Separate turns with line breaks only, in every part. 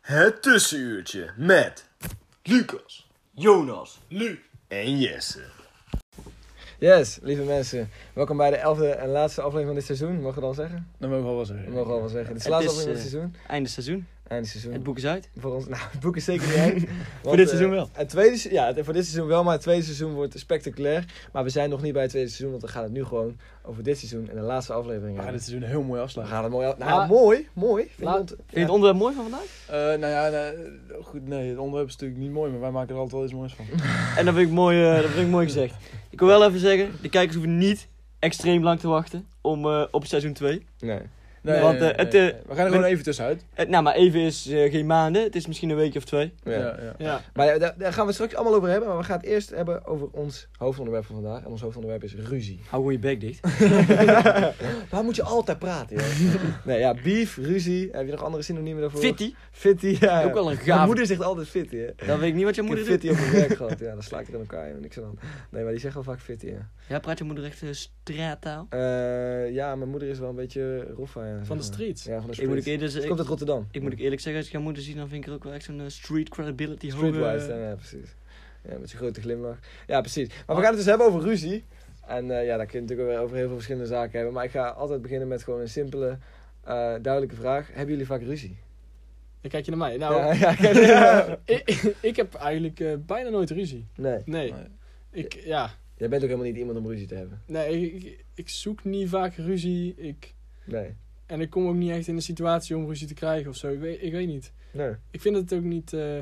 Het tussenuurtje met Lucas
Jonas.
en Jesse.
Yes, lieve mensen. Welkom bij de elfde en laatste aflevering van dit seizoen. Mogen we dan zeggen?
Dat mogen we wel zeggen.
Dat mogen we al wel zeggen. Dit is de
Het
laatste
is, eh,
aflevering van dit seizoen.
Einde seizoen.
Einde seizoen.
Het boek is uit.
Voor ons, nou, het boek is zeker niet uit. Want,
dit
eh,
seizoen wel.
Het tweede, se- ja, het- voor dit seizoen wel, maar het tweede seizoen wordt spectaculair. Maar we zijn nog niet bij het tweede seizoen, want we gaan het nu gewoon over dit seizoen en de laatste aflevering
Ah,
We gaan
hebben.
Ah, dit seizoen een heel mooi
We
dus-
afslag.
gaan het mooi... af- Nou,
Maar-
mooi, mooi. Vind
Laat-
ik ont-
Vind je het onderwerp mooi van vandaag?
Eh, nou ja, nou, goed, nee, het onderwerp is natuurlijk niet mooi, maar wij maken er altijd wel iets moois van.
En dat vind ik mooi, eh, dat vind ik mooi gezegd. Ik wil wel even zeggen, de kijkers hoeven niet extreem lang te wachten om, eh, op seizoen 2.
Nee.
Nee,
Want,
nee,
eh, het,
nee,
eh,
nee. we gaan er gewoon even tussenuit.
nou, maar even is eh, geen maanden. Het is misschien een week of twee.
Ja.
Ja, ja.
Ja.
Maar ja, daar, daar gaan we het straks allemaal over hebben. Maar we gaan het eerst hebben over ons hoofdonderwerp van vandaag. En ons hoofdonderwerp is ruzie.
Hou gewoon je bek dicht.
Waar moet je altijd praten, joh? nee, ja, beef, ruzie. Heb je nog andere synoniemen daarvoor?
Fitty.
Fitty, ja.
Ook wel een
Mijn
gaaf.
moeder zegt altijd fitty, hè.
Dan weet ik niet wat je
Ik
moeder
heb
doet.
fitty op mijn werk gehad. Ja, dan sla ik er in elkaar, joh. Niks aan. Nee, maar die zegt wel vaak fitty, ja.
Ja, praat je moeder echt eh, straattaal?
Eh, ja, mijn moeder is wel een beetje roffa, ja, zeg
Van de
maar.
streets.
Ja, van de
Ik moet
streets.
ik, eerder,
Ze
zeggen-
komt
ik,
uit Rotterdam.
ik moet ook eerlijk zeggen, als ik jouw moeder zie, dan vind ik er ook wel echt zo'n eh, street credibility hoge-
Streetwise, ja, ja, precies. Ja, met zijn grote glimlach. Ja, precies. Maar we gaan het dus hebben over ruzie. En eh, ja, daar kun je natuurlijk weer over heel veel verschillende zaken hebben. Maar ik ga altijd beginnen met gewoon een simpele, eh, duidelijke vraag. Hebben jullie vaak ruzie?
Dan kijk je naar mij. Nou,
Ja, ja, ik-
ik, ik heb eigenlijk eh, bijna nooit ruzie.
Nee,
Nee.
Nee.
Ik, ja.
jij bent ook helemaal niet iemand om ruzie te hebben.
Nee, ik, ik zoek niet vaak ruzie. Ik,
Nee.
en ik kom ook niet echt in een situatie om ruzie te krijgen of zo. Ik weet, ik weet niet.
Nee.
Ik vind het ook niet... eh,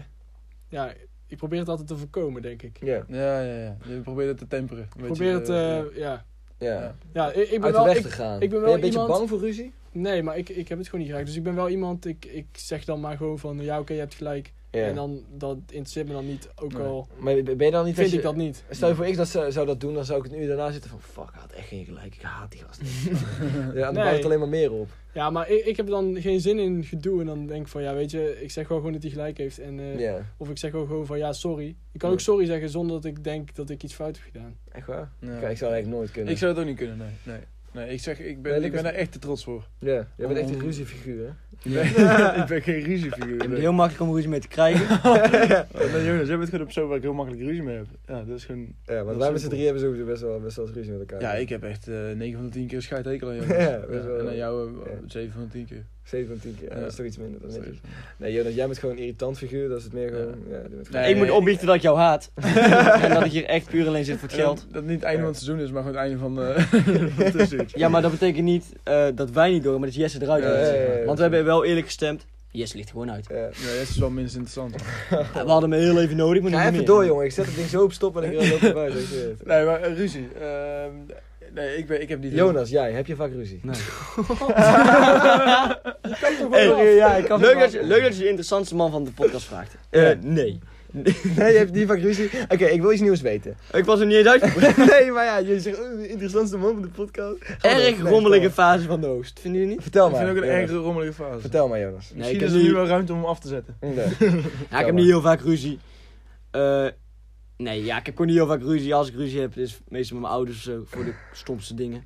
ja, ik probeer het altijd te voorkomen, denk ik. Ik
Ja.
Ja, ja, ja. Je probeert het te temperen. Een beetje,
probeer het...
eh,
eh, ja.
ja.
Ja, ik, ik
Uit
ben
de
wel...
weg
ik-
te gaan.
ben wel
je een beetje
iemand-
bang voor ruzie?
nee, maar ik, ik heb het gewoon niet geraakt. Dus ik ben wel iemand... Ik, ik zeg dan maar gewoon van... Ja, oké, je hebt gelijk.
Ja.
En dan, dat interesseert me dan niet. Ook
Nee.
al
Maar ben je dan niet...
vind
als je-
ik dat niet.
Stel je voor ik dat zou, zou dat doen, dan zou ik een uur daarna zitten van... Fuck, hij had echt geen gelijk. Ik haat die gast. ja, dan bouwt het alleen maar meer op.
Ja, maar ik, ik heb dan geen zin in gedoe. En dan denk ik van, ja, weet je, ik zeg wel gewoon dat hij gelijk heeft. En, eh,
Ja.
Of ik zeg wel gewoon van, ja, sorry. Ik kan
Ja.
ook sorry zeggen zonder dat ik denk dat ik iets fout heb gedaan.
Echt waar?
ja.
Kijk, ik zou eigenlijk nooit kunnen.
Ik zou het ook niet kunnen, nee. Nee, nee ik zeg, ik ben,
Nee,
ik
Lucas-
ben daar echt te trots voor.
Ja, jij bent echt een
Om-
ruziefiguur, hè?
Ik ben, ik ben geen ruziefiguur.
Je bent
nee.
heel makkelijk om ruzie mee te krijgen.
Oh, nee, Jonas, jij bent gewoon op zo'n waar ik heel makkelijk ruzie mee heb. Ja, dat is gewoon...
Ja, want
Dat
wij met z'n
is simpel.
drie hebben sowieso best wel, best wel eens ruzie met elkaar.
Ja, ik heb echt eh 9 van de 10 keer scheidhekel aan jou.
Ja,
Ja,
dat is wel-
en aan jou eh,
ja.
7 van de 10 keer.
7 van 10 keer. Ja,
Ja.
Dat is toch iets minder. Dat is
Dat
netjes.
is-
Nee, Jonas, jij bent gewoon een irritant figuur. Dat is het meer gewoon... Ja, je bent gewoon-
Nee,
ik moet
nee.
opbiechten dat ik jou haat. en dat ik hier echt puur alleen zit voor het
En
geld.
Dat, dat niet het einde van het seizoen is, maar gewoon het einde van, eh van het tussenuurtje.
Ja, maar dat betekent niet eh, dat wij niet door, maar dat Jesse eruit
Ja,
ligt.
ja,
ja, ja, ja.
Want we hebben wel eerlijk gestemd. Jesse ligt er gewoon uit.
Ja.
Ja, dat is wel minst interessant.
We hadden hem heel even nodig, maar nu
Ga
niet
even
meer.
door, jongen. Ik zet het ding zo op stop en ik loop erbij. dat je het.
Nee, maar eh, ruzie. Ehm, nee, ik, ben, ik heb niet...
Jonas, jij, heb je vaak ruzie?
Nee.
Hey,
Hey,
ja, ik kan
leuk,
het wel.
dat je, leuk dat je de interessantste man van de podcast vraagt. Eh,
Ja.
Nee.
Nee, je hebt niet vaak ruzie. Oké, ik wil iets nieuws weten.
Ik was er niet eens uit.
nee, maar ja, je zegt, oh, de interessantste man van de podcast. Ga door.
Erg
Nee,
rommelige
vertel.
fase van de hoogst, vinden jullie niet?
Vertel
Ik
maar.
vind ook een
Jonas.
erg rommelige fase.
Vertel maar, Jonas.
Nee, ik
Misschien
heb
is er
niet-
nu wel ruimte om hem af te zetten.
Nee.
Ja, ik heb niet heel vaak ruzie. Eh, nee, ja, ik heb gewoon niet heel vaak ruzie. Als ik ruzie heb, is het meestal met mijn ouders of zo, voor de stomste dingen.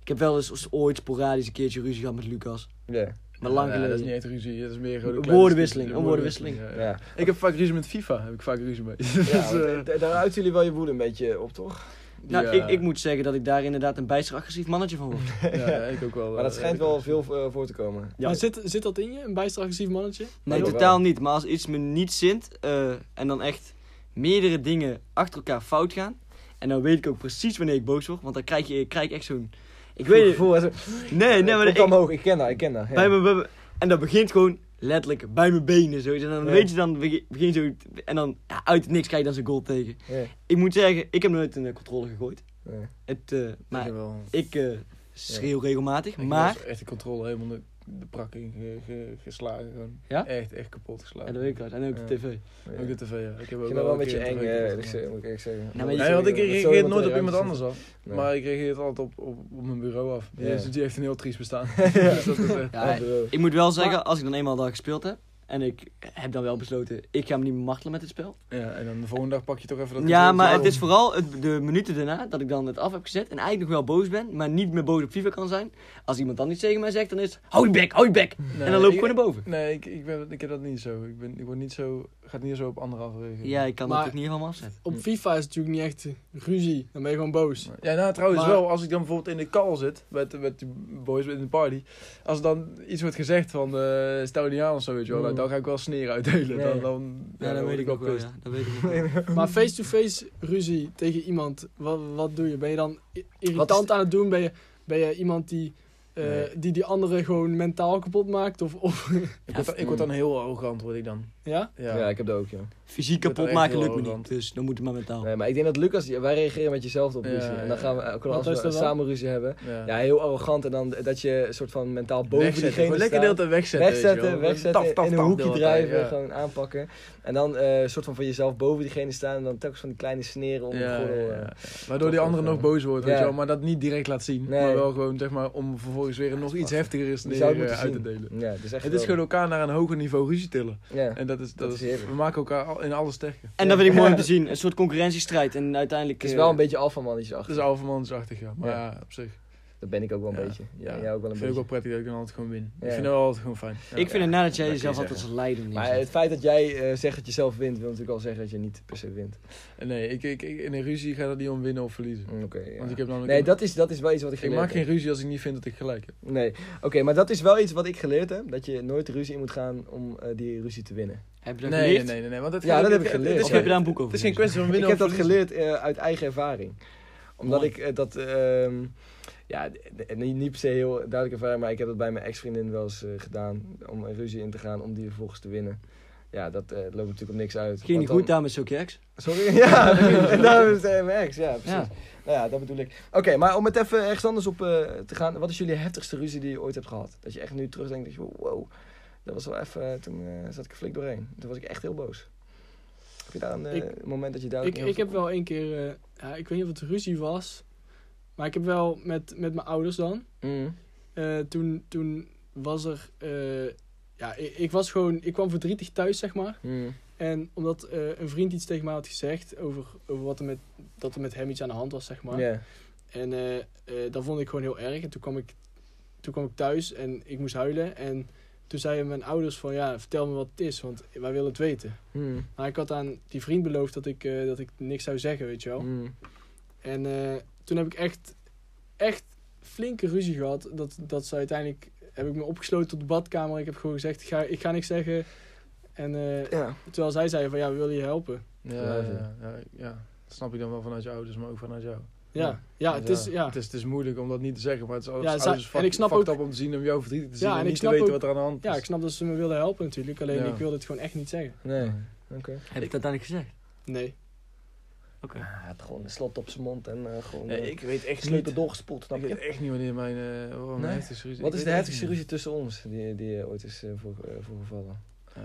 Ik heb wel eens ooit sporadisch een keertje ruzie gehad met Lucas.
Ja,
Maar lang
Nee,
geleden.
dat is niet echt ruzie, dat is meer gewoon...
Een
kleine
woordenwisseling,
discussie.
een woordenwisseling.
Ja, ja.
ja.
Ik heb vaak ruzie met FIFA, heb ik vaak ruzie mee.
Ja,
Dus, eh,
want, eh, daar uiten jullie wel je woede een beetje op, toch?
Nou,
Ja.
ik, ik moet zeggen dat ik daar inderdaad een bijster agressief mannetje van word.
Ja, ik ook wel.
Maar dat
eh,
schijnt wel veel eh, voor te komen.
Ja.
Maar zit, zit dat in je, een bijster agressief mannetje?
Nee,
joh.
totaal niet. Maar als iets me niet zint eh, en dan echt meerdere dingen achter elkaar fout gaan. En dan weet ik ook precies wanneer ik boos word. Want dan krijg, je, krijg ik echt zo'n... Ik weet het.
Gevoel, hè, zo,
Nee, nee,
eh,
maar
komt
ik,
omhoog, ik ken dat, ik ken dat. ja.
bij mijn, bij mijn- en dat begint gewoon letterlijk bij mijn benen. Zo. En dan
Ja.
weet je, dan beg- begin je zo... En dan ja, uit het niks krijg je dan zo'n goal tegen.
Ja.
Ik moet zeggen, ik heb nooit een eh, controle gegooid.
Nee.
Het, eh, maar
Ik wel.
ik eh, schreeuw regelmatig.
Ik
maar...
was echt de controle helemaal de, de prak in ge- ge- geslagen. Gewoon.
Ja?
Echt, echt kapot
En
geslagen.
dat weet ik wel. En ook
Ja.
de tv.
Ja.
Ook de tv, ja. Ik heb
Ik
ook
vind dat wel een beetje
keer
eng,
tv
eh,
kapot
eerlijk gezegd,
gemaakt.
moet ik echt zeggen.
Nou, maar je-
Nee, want ik
Met zo
reageer nooit op
eruit
iemand eh,
zit.
anders af.
Nee.
Maar ik reageer het altijd op, op, op mijn bureau af.
Ja.
Ja. Dus die heeft een heel triest bestaan. dus dat is echt...
Ja,
bro.
Ik moet wel zeggen, als ik dan eenmaal daar gespeeld heb. En ik heb dan wel besloten, ik ga me niet martelen met het spel.
ja, en dan de volgende dag pak je toch even
Ja,
dat controle
maar het
terug.
is vooral het, de minuten daarna dat ik dan het af heb gezet. En eigenlijk nog wel boos ben, maar niet meer boos op FIFA kan zijn. Als iemand dan iets tegen mij zegt, dan is het, hou je bek, hou je bek.
Nee,
en dan loop ik
ik-
gewoon naar boven.
Nee, ik, ik, ben, ik heb dat niet zo. Ik, ben, ik word niet zo, ga niet zo op anderen af reageren.
Ja, ik
Maar-
kan dat natuurlijk niet helemaal afzetten.
Hm.
Op FIFA is het natuurlijk niet echt eh, ruzie. Dan ben je gewoon boos.
Ja, nou trouwens
Maar-
wel, als ik dan bijvoorbeeld in de call zit, met, met die boys in de party, als er dan iets wordt gezegd van eh stel je niet aan of zo, weet je wel,
Mm.
dan ga ik wel sneer uitdelen.
Ja.
Dan, dan,
Ja, dat weet ik ook wel, ja. Dat weet ik ook wel.
Maar face-to-face ruzie tegen iemand, wat, wat doe je? Ben je dan i-
Wat
irritant aan het doen? Ben je, ben je iemand die, eh,
Nee.
die die andere gewoon mentaal kapot maakt? Of, of
Ik word, dan, ik word dan heel arrogant, word ik dan.
ja?
Ja,
mm. Ja.
ja,
ik heb dat ook,
Oh.
joh.
Fysiek
Dat
kapot
echt
maken
heel
lukt me niet,
arrogant.
dus dan moet het maar mentaal.
Nee, maar ik denk dat Lucas, wij reageren met jezelf op
Ja,
ruzie. En dan gaan we, kunnen
Wat
we als
is
we
dat dan?
samen ruzie hebben. Ja, heel arrogant en dan dat je een soort van mentaal boven
Wegzetten.
diegene
Gewoon lekker de
staat.
hele tijd wegzetten.
Wegzetten, wegzetten, in een hoekje drijven,
Ja.
gewoon aanpakken. En dan eh, een soort van van jezelf boven diegene staan en dan telkens van die kleine sneren om
Ja,
de gordel.
ja,
eh.
ja. Waardoor die andere nog boos wordt, weet
Ja.
je wel, maar dat niet direct laat zien.
Nee.
Maar wel gewoon, zeg maar, om vervolgens weer nog iets heftiger is
Die zou het
neer, eh,
moeten
uit te
zien.
delen.
Ja, het is echt
Het is gewoon
geweldig.
elkaar naar een hoger niveau ruzie tillen.
Ja.
En dat is, dat
Dat is
is,
heerlijk.
we maken elkaar al- in alles sterker.
En dat vind ik mooi om te zien. Een soort concurrentiestrijd en uiteindelijk...
Het is
eh,
wel een beetje alfamannetjes
Het is
achter.
alvermansachtig, ja. Maar
Ja.
ja, op zich.
Dat ben ik ook wel een
Dus- Ja.
beetje. Ja,
Ja.
jij ook wel een
vind ik
beetje.
ook prettig dat ik dan altijd gewoon win.
Ja.
Ik vind dat altijd gewoon fijn. Ja.
Ik vind het nadat
Dat kun
jij
je
jezelf altijd als
zeggen.
leider
Maar
neerzet.
het feit dat jij eh, zegt dat je zelf wint, wil natuurlijk al zeggen dat je niet per se wint.
Nee, ik, ik, ik- in een ruzie ga dat niet om winnen of verliezen.
Mm, Oké. ja.
Want ik heb namelijk...
Nee, dat is, dat is wel iets wat ik
ik
geleerd
maak geen
heb.
ruzie als ik niet vind dat ik gelijk heb.
Nee, oké, maar dat is wel iets wat ik geleerd heb. Dat je nooit de ruzie in moet gaan om eh, die ruzie te winnen.
Heb je dat
Nee, nee,
geleerd?
nee, nee. nee, want het
Ja,
gaat
dat
niet-
heb ik
het-
geleerd.
Het
Of
is,
heb je
geen,
daar een boek over?
het is geen kwestie van winnen
ik heb
of
dat
verliezen.
geleerd eh, uit eigen ervaring. Omdat ik eh, dat... ehm, ja, d- d- niet, niet per se heel duidelijk ervaring, maar ik heb dat bij mijn ex-vriendin wel eens eh, gedaan. Om een ruzie in te gaan, om die vervolgens te winnen. Ja, dat eh, loopt natuurlijk op niks uit.
Ging
want
niet
dan-
goed daar met zulke ex?
Sorry? Ja, en daarom is het mijn ex, ja, precies.
Ja.
Nou ja, dat bedoel ik. Oké, maar om het even ergens anders op eh, te gaan. Wat is jullie heftigste ruzie die je ooit hebt gehad? Dat je echt nu terugdenkt dat je, wow, dat was wel even, eh, toen eh, zat ik er flink doorheen. Toen was ik echt heel boos. Heb je daar een eh,
Ik-
moment dat je duidelijk...
Ik,
heel
ik heb
veel-
wel één keer, eh, ja, ik weet niet of het ruzie was, maar ik heb wel met, met mijn ouders dan.
Mm.
Eh, toen, toen was er. eh, ja, ik, ik was gewoon. Ik kwam verdrietig thuis, zeg maar.
Mm.
En omdat eh, een vriend iets tegen mij had gezegd over, over wat er met, dat er met hem iets aan de hand was, zeg maar.
Ja.
En eh, eh, dat vond ik gewoon heel erg. En toen kwam, ik, toen kwam ik thuis en ik moest huilen. En toen zeiden mijn ouders van ja, vertel me wat het is, want wij willen het weten.
Mm.
Maar ik had aan die vriend beloofd dat ik, eh, dat ik niks zou zeggen, weet je wel.
Mm.
En eh, toen heb ik echt, echt flinke ruzie gehad. Dat, dat ze uiteindelijk heb ik me opgesloten op de badkamer. Ik heb gewoon gezegd, ik ga, ik ga niks zeggen. En eh,
Ja.
terwijl zij zei van ja, we willen je helpen.
Ja, ja, ja, ja. Dat snap ik dan wel vanuit je ouders, maar ook vanuit jou.
Ja, ja,
Ja.
het is ja.
Het is, het is moeilijk om dat niet te zeggen, maar het is als
Ja, zij-
ouders
en ik snap
fucked
ook-
up om te zien, om jou verdrietig te zien
en
en
ik
niet te
snap
weten
ook-
wat er aan de hand is.
Ja, ik snap dat ze me wilden helpen natuurlijk. Alleen
Ja.
ik wilde het gewoon echt niet zeggen.
Nee.
Heb ik dat uiteindelijk gezegd?
Nee.
Oké.
Ah, hij had gewoon een slot op zijn mond en eh, gewoon
Ja,
eh,
ik weet echt
sleutel
niet.
doorgespoeld, snap
Ik weet
je?
echt niet wanneer mijn, eh, wat mijn
Nee?
heftigste ruzie
Wat
ik
is de
weet echt
heftigste
niet.
ruzie tussen ons die, die eh, ooit is eh, voor- eh, voorgevallen?
Eh,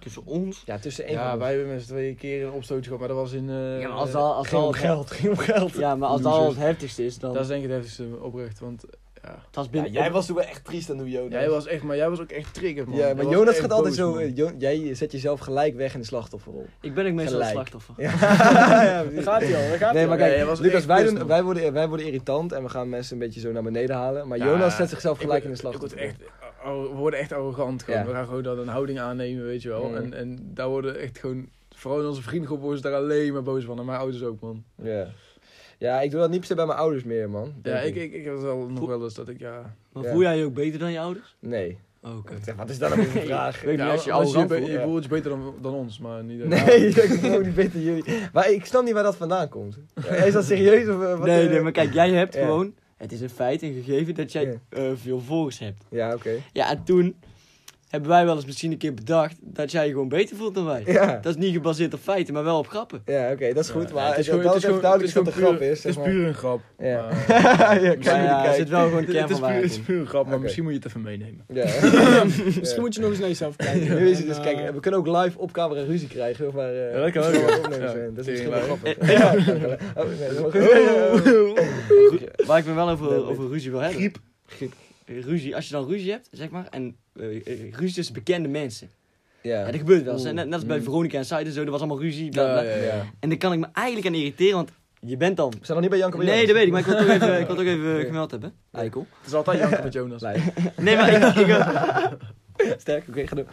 Tussen ons?
Ja, tussen één
ja,
van
wij hebben met z'n tweeën keer een opstootje gehad, maar dat was in... eh,
Ja, maar als
eh,
dat, als
Ging om
dat-
geld, ging om geld.
Ja, maar als dat al het heftigste is, dan...
Dat is denk ik het heftigste oprecht, want ja.
dat is binnen...
jij was toen wel echt triest aan hoe Jonas.
Jij was echt, maar jij was ook echt trigger, man.
ja,
Jij
maar
was
Jonas
echt
gaat altijd
boos,
zo.
man.
eh, Jo- jij zet jezelf gelijk weg in de slachtofferrol.
Ik ben ook meestal
Gelijk.
het slachtoffer.
Ja,
Daar gaat hij al, daar gaat
Nee,
hij
maar
al.
Nee,
kijk,
hij was
Lucas,
echt
wij,
pissed,
doen,
man.
wij, worden, wij worden irritant en we gaan mensen een beetje zo naar beneden halen. Maar
Ja,
Jonas zet zichzelf
ik
gelijk in
word-
de
ik word
slachtofferrol.
echt, arro- we worden echt arrogant gewoon.
Ja.
We gaan gewoon dan een houding aannemen, weet je wel.
Mm.
En, en daar worden echt gewoon... Vooral in onze vriendengroep worden ze daar alleen maar boos van. En mijn ouders ook, man.
Ja. Ja, ik doe dat niet per se bij mijn ouders meer, man.
Ja,
Denk
ik, ik, ik heb wel nog wel eens dat ik, ja...
Maar
Ja.
voel jij je ook beter dan je ouders?
Nee.
Oké.
Zeg, wat is dat nou voor een vraag?
Weet niet,
ja,
als je
als
ouder
be-
voelt,
je voelt je beter dan, dan ons, maar niet... dat-
Nee, ik ben ook niet beter dan jullie. Maar ik snap niet waar dat vandaan komt. Is dat serieus of eh, wat?
Nee,
eh?
nee, maar kijk, jij hebt
Ja.
gewoon... Het is een feit en gegeven dat jij
Ja.
eh, veel volgers hebt.
Ja, oké.
Ja, en toen hebben wij wel eens misschien een keer bedacht dat jij je gewoon beter voelt dan wij.
Ja.
Dat is niet gebaseerd op feiten, maar wel op grappen.
Ja, oké, dat is goed.
Ja,
Maar
het is
dat
gewoon-
dat
het
even
is gewoon-
duidelijk dat
het
de
gewoon
grap
puur-
is.
Het is
zeg maar.
puur een grap.
Ja.
maar-
ja,
Maar
kijk,
ja, er zit
kijk.
wel gewoon een
Het
kern van
is puur- het is
waarheid in.
puur een grap, maar
Oké.
misschien moet je het even meenemen.
Ja.
Misschien moet je nog eens naar jezelf
Nu
kijken.
is
En,
het dus,
eh,
kijk, we kunnen ook live op camera ruzie krijgen. Of maar, eh,
Ja, dat kan ook,
we
ja.
opnemen
Ja,
zijn. Dat is misschien
tegen
wel
mij.
grappig. Ja, Oh, nee, dat is wel goed.
Ru- Waar ik me wel over, over ruzie wil hebben.
Griep.
Griep. Ruzie, als je dan ruzie hebt, zeg maar, en eh, eh, ruzie tussen bekende mensen. Ja,
Ja.
dat gebeurt wel eens. hè. Net, net als bij Veronica en Said en zo, er was allemaal ruzie. Bla, bla.
Ja.
En daar kan ik me eigenlijk aan irriteren, want je bent dan...
We zijn nog niet bij Janko
Nee, dat weet ik, maar ik wil het ook even, ik wil het ook even eh, gemeld hebben. Eikel.
Het is altijd janken met Jonas.
Nee, maar ik... ik eh,
Sterk, oké, ga doen.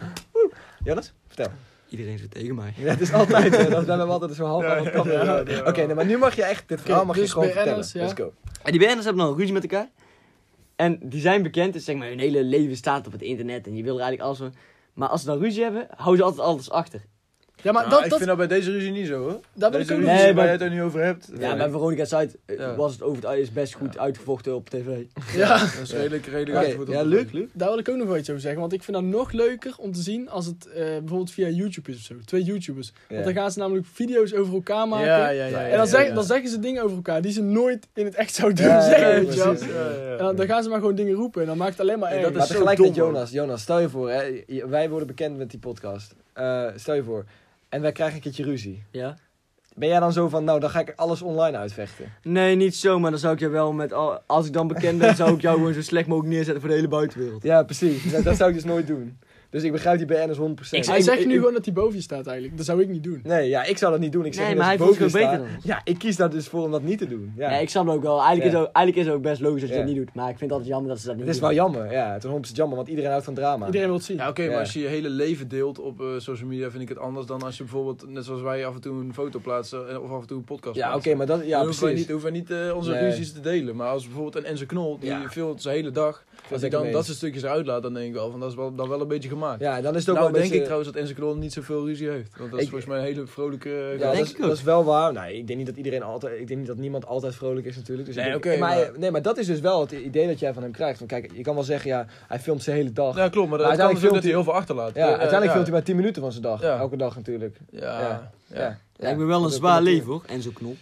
Jannes, vertel.
Iedereen zit tegen mij.
Ja, het is altijd, eh, dat zijn we altijd zo half aan het kappen.
ja, ja.
Oké, nee, maar nu mag je echt, dit verhaal mag je
dus
gewoon vertellen.
BN'ers, ja.
Let's go.
En die BN'ers hebben dan ruzie met elkaar. En die zijn bekend, dus zeg maar hun hele leven staat op het internet en je wil er eigenlijk alles van. Maar als ze dan ruzie hebben, houden ze altijd alles achter.
Ja, maar
Nou,
dat,
ik
dat,
vind dat bij deze ruzie niet zo hoor.
daar ben ik
Deze
ook
ruzie
Nee,
nog
waar
maar-
je het er nu over hebt.
Ja, bij Veronica Site eh,
Ja.
was het over het is best goed uitgevochten op tv.
Ja,
Dat is redelijk, redelijk
Oké,
uitgevoerd op
ja,
de
Luc,
tv.
Luc.
daar wil ik ook nog wel iets over zeggen. Want ik vind dat nog leuker om te zien als het eh, bijvoorbeeld via YouTube is of zo. Twee YouTubers. Want dan gaan ze namelijk video's over elkaar maken.
Ja, ja, ja, ja,
En dan,
ja,
zeg-
ja.
dan zeggen ze dingen over elkaar die ze nooit in het echt zouden
Ja, ja,
zeggen.
ja,
weet je wel.
precies.
En dan, dan gaan ze maar gewoon dingen roepen. En dan maakt het alleen maar
En
erg.
dat
Maar
is zo
tegelijk
dom,
met
hoor.
Jonas. Jonas, stel je voor, hè, je- wij worden bekend met die podcast. Eh, stel je voor. En wij krijgen een keertje ruzie.
Ja?
Ben jij dan zo van, nou, dan ga ik alles online uitvechten?
Nee, niet zo, maar dan zou ik jou wel met. al- Als ik dan bekend ben, zou ik jou gewoon zo slecht mogelijk neerzetten voor de hele buitenwereld.
Ja, precies. Nou, dat zou ik dus nooit doen. Dus ik begrijp die BN'ers 100%.
Ik
Hij
Ik-
zegt
ik-
nu
ik-
gewoon dat hij boven je staat eigenlijk. Dat zou ik niet doen.
Nee, ja, ik zou dat niet doen. Ik zeg
Nee,
niet
maar hij
dat
voelt
ze
zich
boven
beter
staan.
dan ons.
Ja, ik kies daar dus voor om dat niet te doen. Ja.
Ja, ik snap het ook wel. Eigenlijk,
Ja.
is, ook, eigenlijk is het ook best logisch dat je
Ja.
dat niet doet, maar ik vind het altijd jammer dat ze dat niet
Het is
doen.
wel jammer. Ja, het is 100% jammer, want iedereen houdt van drama.
Iedereen wil het zien.
Ja, oké,
Ja.
maar als je je hele leven deelt op eh, social media vind ik het anders dan als je bijvoorbeeld, net zoals wij af en toe een foto plaatsen eh, of af en toe een podcast
Ja, oké,
plaatsen.
maar dat... Ja,
dan hoeven wij
precies.
niet, hoeven wij niet eh, onze
Nee.
ruzies te delen. Maar als bijvoorbeeld een Enzo Knol, die
Ja.
filmt zijn hele dag, als
ik
hij dan
mee
dat
eens.
soort stukjes eruit laat, dan denk ik wel van dat is wel, dan wel een beetje gemaakt.
Ja, dan is het ook
Nou
wel
denk
een beetje...
ik trouwens dat Enzo Knol niet zoveel ruzie heeft. Want dat is
Ik-
volgens mij een hele vrolijke... eh,
Ja,
gast.
dat,
denk
is,
ik ook.
dat is wel waar. Nee, ik denk niet dat iedereen altijd, ik denk niet dat niemand altijd vrolijk is natuurlijk. Dus ik
Nee,
denk-
oké,
maar,
maar-
nee, maar dat is dus wel het idee dat jij van hem krijgt. Want kijk, je kan wel zeggen, ja, hij filmt zijn hele dag. Ja,
Ja, klopt, maar,
Maar
het kan
uiteindelijk
natuurlijk
filmt
dat hij heel veel achterlaat. Eh, eh,
uiteindelijk
ja.
filmt hij maar 10 minuten van zijn dag.
Ja.
Elke dag natuurlijk.
Ja,
Ja.
ja.
Ja.
Lijkt me wel een
Dat
zwaar
komt
leven hoor, Enzo Knol.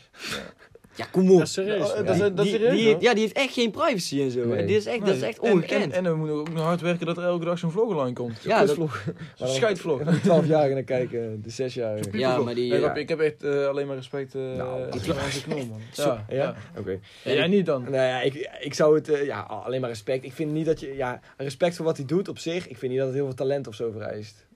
Ja, kom op.
Ja, serieus.
Oh,
Ja.
dat is-
Die- die-
serieus,
die-
hoor.
ja, die heeft echt geen privacy en zo.
Nee.
En Dit is echt, dat is
Nee,
echt
en-
ongekend.
En, en, we moeten ook nog hard werken dat er elke dag zo'n vlog online komt.
ja, dat,
Zo'n scheidvlog.
De 12 jaar naar kijken, de 6 jaar. Oké.
ja, maar die...
Nee,
ja.
grapje, Ik heb echt eh, alleen maar respect eh
Nou,
voor
ik-
Enzo Knol, man. Ja,
Ja?
ja. En jij niet dan?
Nou ja, ik, ik zou het, eh, ja, alleen maar respect. Ik vind niet dat je, ja, respect voor wat hij doet op zich. Ik vind niet dat het heel veel talent of zo vereist. Eh,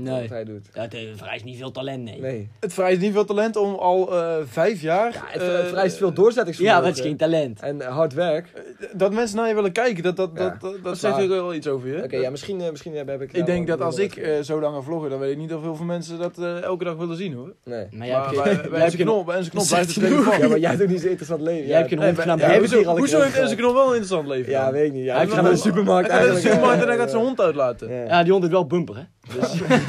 Nee.
Wat hij doet.
Ja, het heeft- vereist niet veel talent, nee.
Nee.
Het vereist niet veel talent om al eh, vijf jaar...
Ja, het,
eh,
het vereist veel
Ja,
doorzettingsvermogen.
maar het is geen talent.
En eh, hard werk.
Dat mensen naar je willen kijken, dat, dat,
Ja,
dat, dat,
dat is
zegt
waar.
er wel iets over je.
Oké, ja, misschien, eh, misschien heb, heb ik...
Ik denk dat als ik
Nee.
eh, zo lang ga vloggen, dan weet ik niet of heel veel mensen dat eh, elke dag willen zien hoor.
Nee.
Maar jij
Ja,
hebt
maar
geen-
bij,
jij
bij
hebt
Enzo
geen
Knol, bij Enzo Knol
Dat
blijft
zegt
het relevant.
Ja, maar jij doet niet zo interessant leven.
Jij hebt
ja.
geen hond gedaan.
Ja,
bij-
hebben ze hier al
hoezo
een
hoezo
keer
heeft
over
Enzo Knol wel een interessant leven
Ja,
dan?
weet ik niet. Ja,
Hij
ik
heeft
ga naar de
wel-
supermarkt
Hij gaat naar de
eigenlijk.
supermarkt en
ja,
dan gaat
ja,
zijn hond uitlaten.
ja. Ja,
Ja, die hond heeft wel bumper, hè?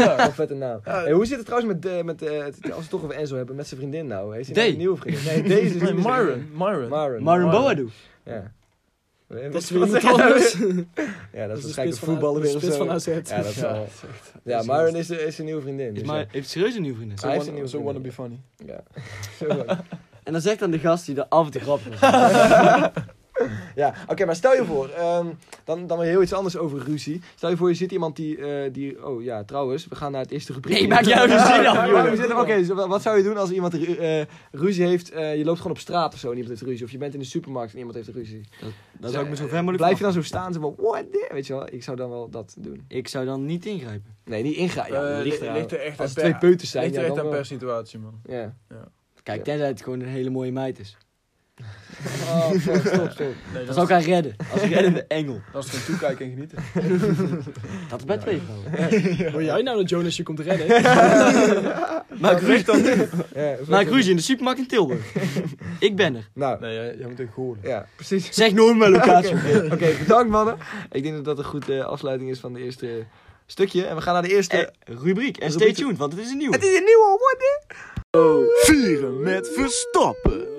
wel vette naam. Hey, hoe zit het trouwens met, eh, met eh, het- als we het toch over Enzo hebben, met zijn vriendin nou? Heeft hij nou
Dee.
een nieuwe vriendin? Nee, deze is
Nee,
niet zijn
Myron. Myron.
vriendin. Myron.
Marun
Marun.
Boadu.
Ja.
Dat is
Wat
weer
zeg
iemand
jij nou
anders.
weer? Ja, dat is
de
waarschijnlijk een
spits van A-
voetballer
de
weer of
spits van
zo.
AZ.
Ja, dat
Ja.
zal. Ja, Myron is, eh, is zijn nieuwe vriendin.
Is
dus
maar, heeft serieus een nieuwe vriendin.
So
Hij heeft een
wanna,
nieuwe
so wanna be
vriendin,
funny.
ja. Ja.
En dan zegt dan de gast die er af en toe grappig was.
Ja, oké, maar stel je voor, ehm, dan, dan weer heel iets anders over ruzie. Stel je voor, je zit iemand die, eh, die oh ja, trouwens, we gaan naar het eerste rubriek.
Nee, maak jou de zin af,
Ja,
jongen.
maar we zitten- Oké, dus wa- wat zou je doen als iemand ru- eh, ruzie heeft, eh, je loopt gewoon op straat of zo en iemand heeft ruzie. Of je bent in de supermarkt en iemand heeft ruzie.
Dan zou ik me zo ver mogelijk
Blijf je dan zo staan en zo van, what the-" Weet je wel, ik zou dan wel dat doen.
Ik zou dan niet ingrijpen.
Nee, niet ingaan. Ja,
Eh,
ligt eraan.
ligt er
Als
echt aan
het
per-
twee peuters zijn,
Ligt
ja,
er echt
dan
aan
wel.
per situatie man.
Ja.
Kijk, tenzij het gewoon een hele mooie meid is.
Oh, fuck, stop, stop.
Nee,
Dan
dat,
zou
is,
ik haar redden. Als een reddende engel.
dat is gewoon toekijken en genieten.
Dat is bed wezen.
Wil jij nou dat Jonas je komt redden?
Maak ruzie,
Ja, zo-
maak ruzie in de supermarkt in Tilburg. ik ben er.
Nou,
Nee, jij, jij moet ook horen.
ja, precies.
Zeg nooit mijn locatie.
Oké, bedankt mannen. Ik denk dat dat een goede eh, afsluiting is van de eerste stukje. En we gaan naar de eerste...
Eh, rubriek. En stay
Rubriek.
tuned, want het is een nieuwe.
Het is een nieuwe worden.
Vieren met Verstappen.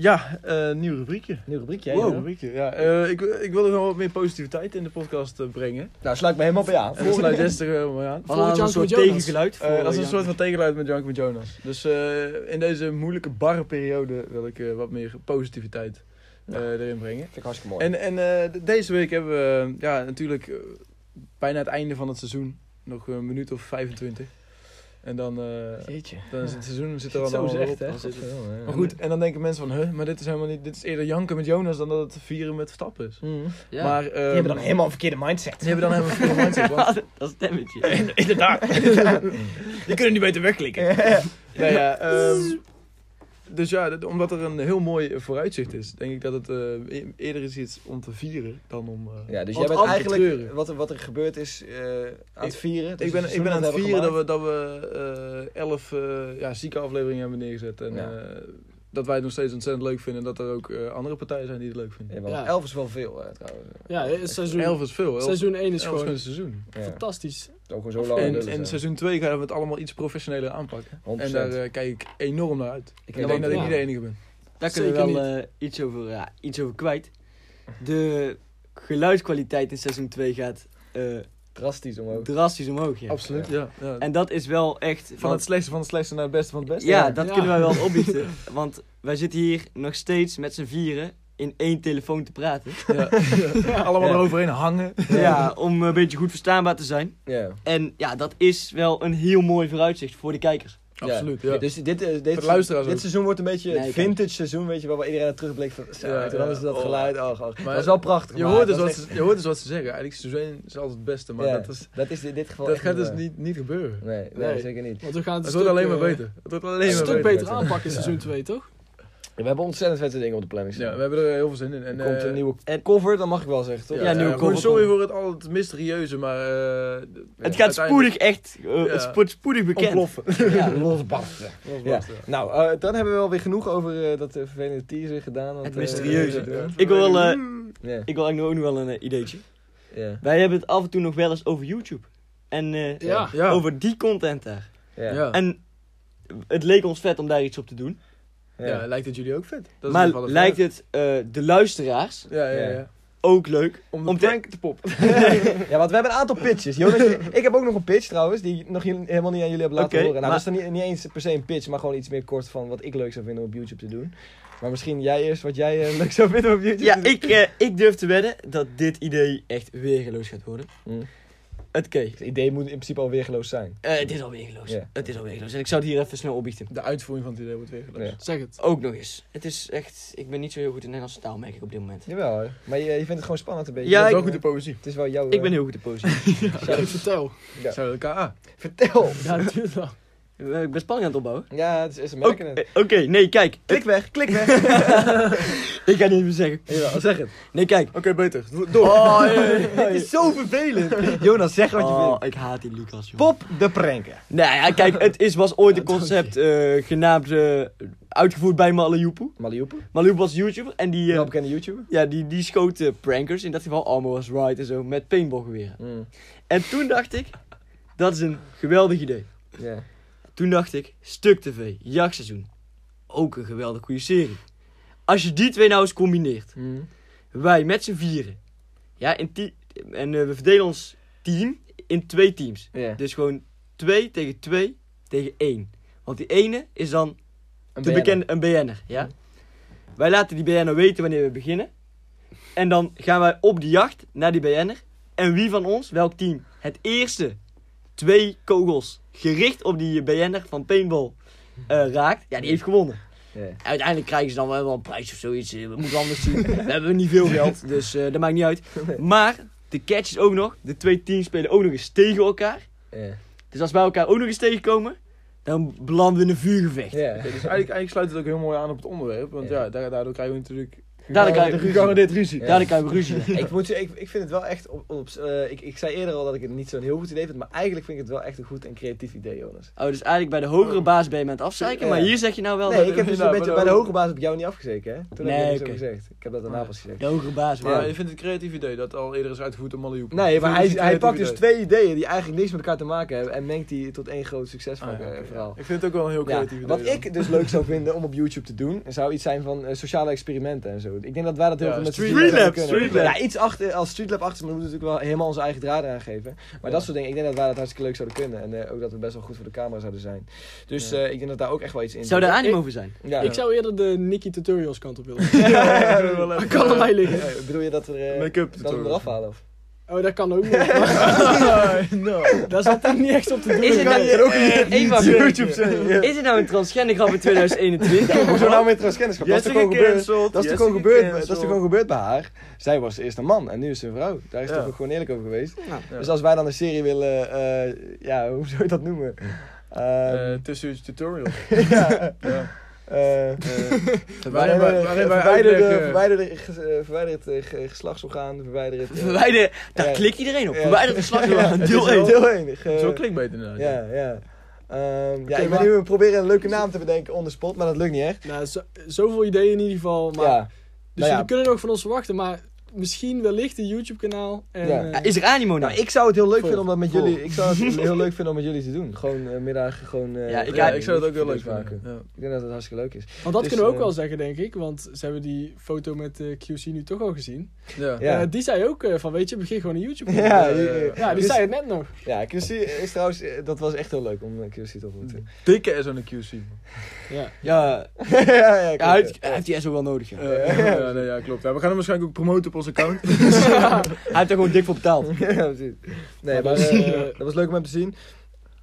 Ja, eh nieuw rubriekje.
Nieuw rubriekje,
Nieuw rubriekje, ja. Eh, ik, ik wilde gewoon wat meer positiviteit in de podcast eh, brengen.
Nou, sluit me helemaal bij aan.
En dat sluit Jester eh, maar aan.
Wat
Volgend
een
jaar
soort
voor Jonas.
tegengeluid. voor,
Eh, dat is
eh,
een soort van tegenluid met Janko met Jonas. Dus eh, in deze moeilijke barre periode wil ik eh, wat meer positiviteit eh, erin brengen.
Vind ik hartstikke mooi.
En, en eh, de- deze week hebben we eh, ja, natuurlijk eh, bijna het einde van het seizoen. Nog een minuut of 25. En dan, eh,
Jeetje.
dan is het seizoen zit er
Zo
al allemaal
zegt,
op.
hè?
Dan zit het- Maar goed, en dan denken mensen van, huh, maar dit is helemaal niet, dit is eerder janken met Jonas dan dat het vieren met Verstappen is.
ja.
Maar, eh,
Mm. Die hebben dan helemaal een verkeerde mindset.
die hebben dan helemaal veel mindset. want-
dat stemmetje.
Inderdaad. Die kunnen niet beter wegklikken. nou ja, ehm, dus ja, dat- omdat er een heel mooi vooruitzicht is, denk ik dat het eh, e- eerder is iets om te vieren dan om. eh,
Ja, dus
om
jij
te
bent
treuren.
eigenlijk... Wat er, wat er gebeurd is eh, aan dus het vieren.
Ik ben, ik ben aan het vieren dat we, dat we eh, elf eh, ja, zieke afleveringen hebben neergezet. En
Ja.
eh, dat wij het nog steeds ontzettend leuk vinden. En dat er ook eh, andere partijen zijn die het leuk vinden.
Ja.
Ja.
Elf is wel veel, eh, trouwens.
ja, het seizoen,
Elf is veel. Elf,
seizoen 1 is
elf
gewoon
een seizoen.
Ja.
fantastisch.
Ook gewoon zo lang. eh.
en
willen
en
zijn.
seizoen 2 gaan we het allemaal iets professioneler aanpakken.
100%.
En daar eh, kijk ik enorm naar uit.
Ik
Ik
denk
denk
ook,
dat ik
ja.
niet de enige ben.
Daar kunnen we
Zeker
wel eh, iets, over, ja, iets over kwijt. De geluidskwaliteit in seizoen 2 gaat eh,
Drastisch omhoog.
drastisch omhoog. Ja.
Absoluut. Ja. ja.
En dat is wel echt...
van
want-
het slechtste van het slechtste naar het beste van het beste.
ja, dat
Ja.
kunnen wij wel opbiechten. Want wij zitten hier nog steeds met z'n vieren in één telefoon te praten.
Ja. Allemaal
Ja.
eroverheen hangen.
Ja, om een beetje goed verstaanbaar te zijn.
Ja.
En ja, dat is wel een heel mooi vooruitzicht voor de kijkers.
Absoluut,
Ja.
ja.
Dus dit, eh,
Voor
dit,
de luisteraars
dit
ook.
seizoen wordt een beetje
Nee,
het
kijk.
vintage seizoen, weet je wel, waar iedereen naar terugblikt van, zo,
Ja,
toen
ja.
hadden ze dat
Oh.
geluid, ach, ach.
Maar-
dat is wel prachtig.
Je
maar
hoort, dus
dat
wat
is echt-
ze, je hoort dus wat ze zeggen. Eigenlijk seizoen is altijd het beste, maar
Ja.
dat, is,
Dat is in dit geval
dat
echt
gaat dus
waar.
niet, niet gebeuren.
Nee, nee,
Nee.
zeker niet.
Want we gaan het,
Het
een
wordt
stuk,
alleen maar
eh,
beter. Het wordt alleen
Een
maar
stuk
beter.
beter, aanpakken in seizoen 2, toch?
We hebben ontzettend vette dingen op de planning staan.
Ja, we hebben er heel veel zin in. En,
er komt
eh,
een nieuwe
en-
cover, dat mag ik wel zeggen, toch?
Ja, nieuwe
gewoon
cover.
Sorry voor het al het mysterieuze, maar... eh,
Het gaat spoedig
uiteindelijk
echt... eh, Het
Ja.
wordt spoedig bekend.
ontploffen.
Ja.
Losbarsten. Ja.
Losbarsten, ja.
Nou, eh, dan hebben we alweer genoeg over eh, dat eh, vervelende teaser gedaan. want,
Het
eh,
mysterieuze.
eh,
Ik wil, eh,
Ja,
ik wil eigenlijk ook nog wel een eh, ideetje.
ja,
Wij hebben het af en toe nog wel eens over YouTube. En eh,
Ja.
Ja.
over die content daar.
ja.
Ja.
En het leek ons vet om daar iets op te doen.
Ja, lijkt het jullie ook vet? Dat is in
maar
ieder geval de
lijkt
vraag.
het eh, de luisteraars
Ja, ja,
Ja.
ja.
ook leuk.
Om de
Om te-
plank te poppen.
Ja, want we hebben een aantal pitches. Jonas, ik heb ook nog een pitch trouwens, die nog jullie- helemaal niet aan jullie heb laten
Oké,
horen. Nou,
maar-
dat is dan niet, niet eens per se een pitch, maar gewoon iets meer kort van wat ik leuk zou vinden om op YouTube te doen. Maar misschien jij eerst wat jij eh, leuk zou vinden op YouTube
Ja,
te doen.
ik, eh, ik durf te wedden dat dit idee echt weergeloos gaat worden.
Mm.
Oké,
Het idee moet in principe al weergeloos zijn.
eh, het is al weergeloos.
Ja.
Het is al weergeloos. En ik zou het hier even snel opbiechten.
De uitvoering van het idee wordt weer gelukt.
Ja.
Zeg het.
Ook nog eens. Het is echt... Ik ben niet zo heel goed in Nederlandse taal, merk ik op dit moment.
Jawel hoor. Maar je, je vindt het gewoon spannend een beetje.
Ja,
Ja,
ik-
wel goed de poëzie.
Het is wel jouw...
Ik
eh,
ben heel goed in poëzie.
Ja, vertel.
Ja.
Zou dat KA?
Vertel!
Ja, dat duurt lang.
Eh, ik ben spanning aan het opbouwen.
Ja, het is, ze merken
Oké,
het.
eh, oké, nee, kijk.
Klik weg, klik weg.
Ik ga niet meer zeggen.
Jawel, zeg het.
Nee, kijk.
Oké, beter. Door.
Oh, het is
Zo vervelend. Jonas, zeg wat je
Oh,
vindt.
ik haat die Lucas, joh.
Pop de pranken.
Nou ja, kijk, het is, was ooit een concept eh, genaamd, eh, uitgevoerd bij Maliupu.
Malioepen.
Maliupu was YouTuber en die, eh,
Wel bekende YouTuber.
ja, die, die schoot eh, prankers, in dat geval Armo was right en zo, met paintballgeweren.
Mm,
En toen dacht ik, dat is een geweldig idee.
Ja.
Toen dacht ik, Stuk TV, jachtseizoen, ook een geweldig goede serie. Als je die twee nou eens combineert,
Mm,
wij met z'n vieren, ja, in ti- en eh, we verdelen ons team in twee teams.
Ja.
Dus gewoon 2 tegen 2 tegen 1. Want die ene is dan
Een
de
BN'er.
bekende, een BN'er. Ja? Wij laten die BN'er weten wanneer we beginnen. En dan gaan wij op de jacht naar die BN'er. En wie van ons, welk team, het eerste twee kogels gericht op die BN'er van Paintball eh, raakt, ja, die heeft gewonnen.
Ja.
Uiteindelijk krijgen ze dan wel een prijs of zoiets. eh, We moeten anders zien. We hebben niet veel geld, dus eh, dat maakt niet uit. Maar de catch is ook nog, de twee teams spelen ook nog eens tegen elkaar.
Ja.
Dus als wij elkaar ook nog eens tegenkomen, Dan belanden we in een vuurgevecht.
Ja.
Oké, dus eigenlijk, eigenlijk sluit het ook heel mooi aan op het onderwerp. Want ja, da- daardoor krijgen we natuurlijk...
Daardoor krijgen we ruzie.
Gegarandeerd ruzie.
Ja.
Daar kan je ruzie.
ik, moet, je- ik, ik vind het wel echt. Op, op, eh, ik, ik zei eerder al dat ik het niet zo'n heel goed idee vind, maar eigenlijk vind ik het wel echt een goed en creatief idee, Jonas.
Oh, dus eigenlijk bij de hogere baas ben je aan het afzeiken,
Ja.
maar hier zeg je nou wel...
Nee,
dat
ik
de-
heb dus een
nou,
beetje bij
maar
de
dan-
hoge baas op jou niet afgezeken, hè? Toen heb
Nee,
ik het zo
oké.
gezegd. Ik heb dat daarna pas gezegd.
De hogere baas.
Maar
wel.
ik vind het een creatief idee dat al eerder is uitgevoerd door Maliouk.
Nee, maar hij,
Ik vind het
hij
een
pakt dus
creatief
twee ideeën die eigenlijk niks met elkaar te maken hebben en mengt die tot één groot succesverhaal.
idee. Ah, ja, oké, ja.
verhaal.
Ik vind het ook wel een heel
Ja,
creatief idee.
wat ik dus leuk zou vinden om op YouTube te doen, zou iets zijn van eh, sociale experimenten en zo. Ik denk dat wij dat heel
Ja,
veel met z'n
Street
drieën
Lab,
kunnen.
Street Lab.
Ja, iets achter, als Streetlab achter, maar we moeten natuurlijk wel helemaal onze eigen draden aangeven. Maar dat soort dingen, ik denk dat wij dat hartstikke leuk zouden kunnen. En eh, ook dat we best wel goed voor de camera zouden zijn. Dus
Ja.
eh, ik denk dat daar ook echt wel iets in
Zou daar
zit.
animo over zijn?
Ja.
Ik zou eerder de Nicky Tutorials kant op willen.
Ja, dat wel
Dat
even.
kan allebei liggen.
Ja, bedoel je dat we, eh,
Make-up
dat we hem
tutorial.
eraf halen? Of?
Oh, dat kan ook nog. maar
No.
Daar zat ik niet echt op te doen.
Is het nou
je ook niet
Eva,
YouTube zijn. ja.
Is het nou een transgender grap in 2021?
Hoezo nou met transgenderschap? Dat is toch gewoon gebeurd? Dat is, toch gewoon gebeurd, dat is toch gewoon gebeurd bij haar? Zij was eerst een man en nu is ze een vrouw. Daar is
Ja.
toch ook gewoon eerlijk over geweest?
Ja.
Ja.
Dus als wij dan een serie willen, eh, ja, hoe zou je dat noemen? Ehm,
Eh, Tussen tutorial.
ja,
Ja.
eh, wij-
Waarin wij- waarin wij
verwijder de-
uitleggen-
verwijder de ges- eh, Verwijder het eh, ge- geslachtsorgaan, verwijder het... eh,
Verwijder, daar
Ja.
klikt iedereen op.
Ja.
Verwijder het slag
Ja,
aan
het
deel
is
1.
Deel 1.
Het is wel clickbait inderdaad.
Ja, ja. Ehm, ja,
Oké,
ik ben
maar-
nu we proberen een leuke naam te bedenken on the spot, maar dat lukt niet echt.
Nou, zo- zoveel ideeën in ieder geval. Maar,
Ja,
dus
nou ja.
jullie kunnen nog van ons verwachten. Maar misschien wellicht een YouTube kanaal. En,
Ja.
eh,
Ja, Is er animo nou?
nou, ik zou het heel leuk
Vol,
vinden om dat met
vol.
jullie, ik zou het heel leuk vinden om met jullie te doen. Gewoon eh, middag, gewoon... eh,
Ja, ik-
Ja, ik zou het ook heel leuk
video's
vinden. Ja.
Ik denk dat het hartstikke leuk is.
want dat
dus,
kunnen we ook
eh,
wel zeggen, denk ik. Want ze hebben die foto met eh, QC nu toch al gezien.
Ja.
Ja.
Eh, die zei ook eh, van, weet je, begin gewoon een YouTube kanaal.
Ja,
Ja,
die-
ja, ja.
Ja, die
dus-
zei het net nog.
Ja, QC is trouwens, eh, dat was echt heel leuk om eh, QC te ontmoeten.
Dikke is aan de QC. man.
Ja.
Ja,
ja, ja, klopt,
ja, hij heeft-
ja.
hij heeft die SO wel nodig. ja.
Eh, Ja, nee, ja, klopt. Ja, we gaan hem waarschijnlijk ook promoten op onze account.
Hij heeft er gewoon dik voor betaald.
Ja, precies. Nee, maar
dat is,
eh,
eh,
dat was leuk om hem te zien.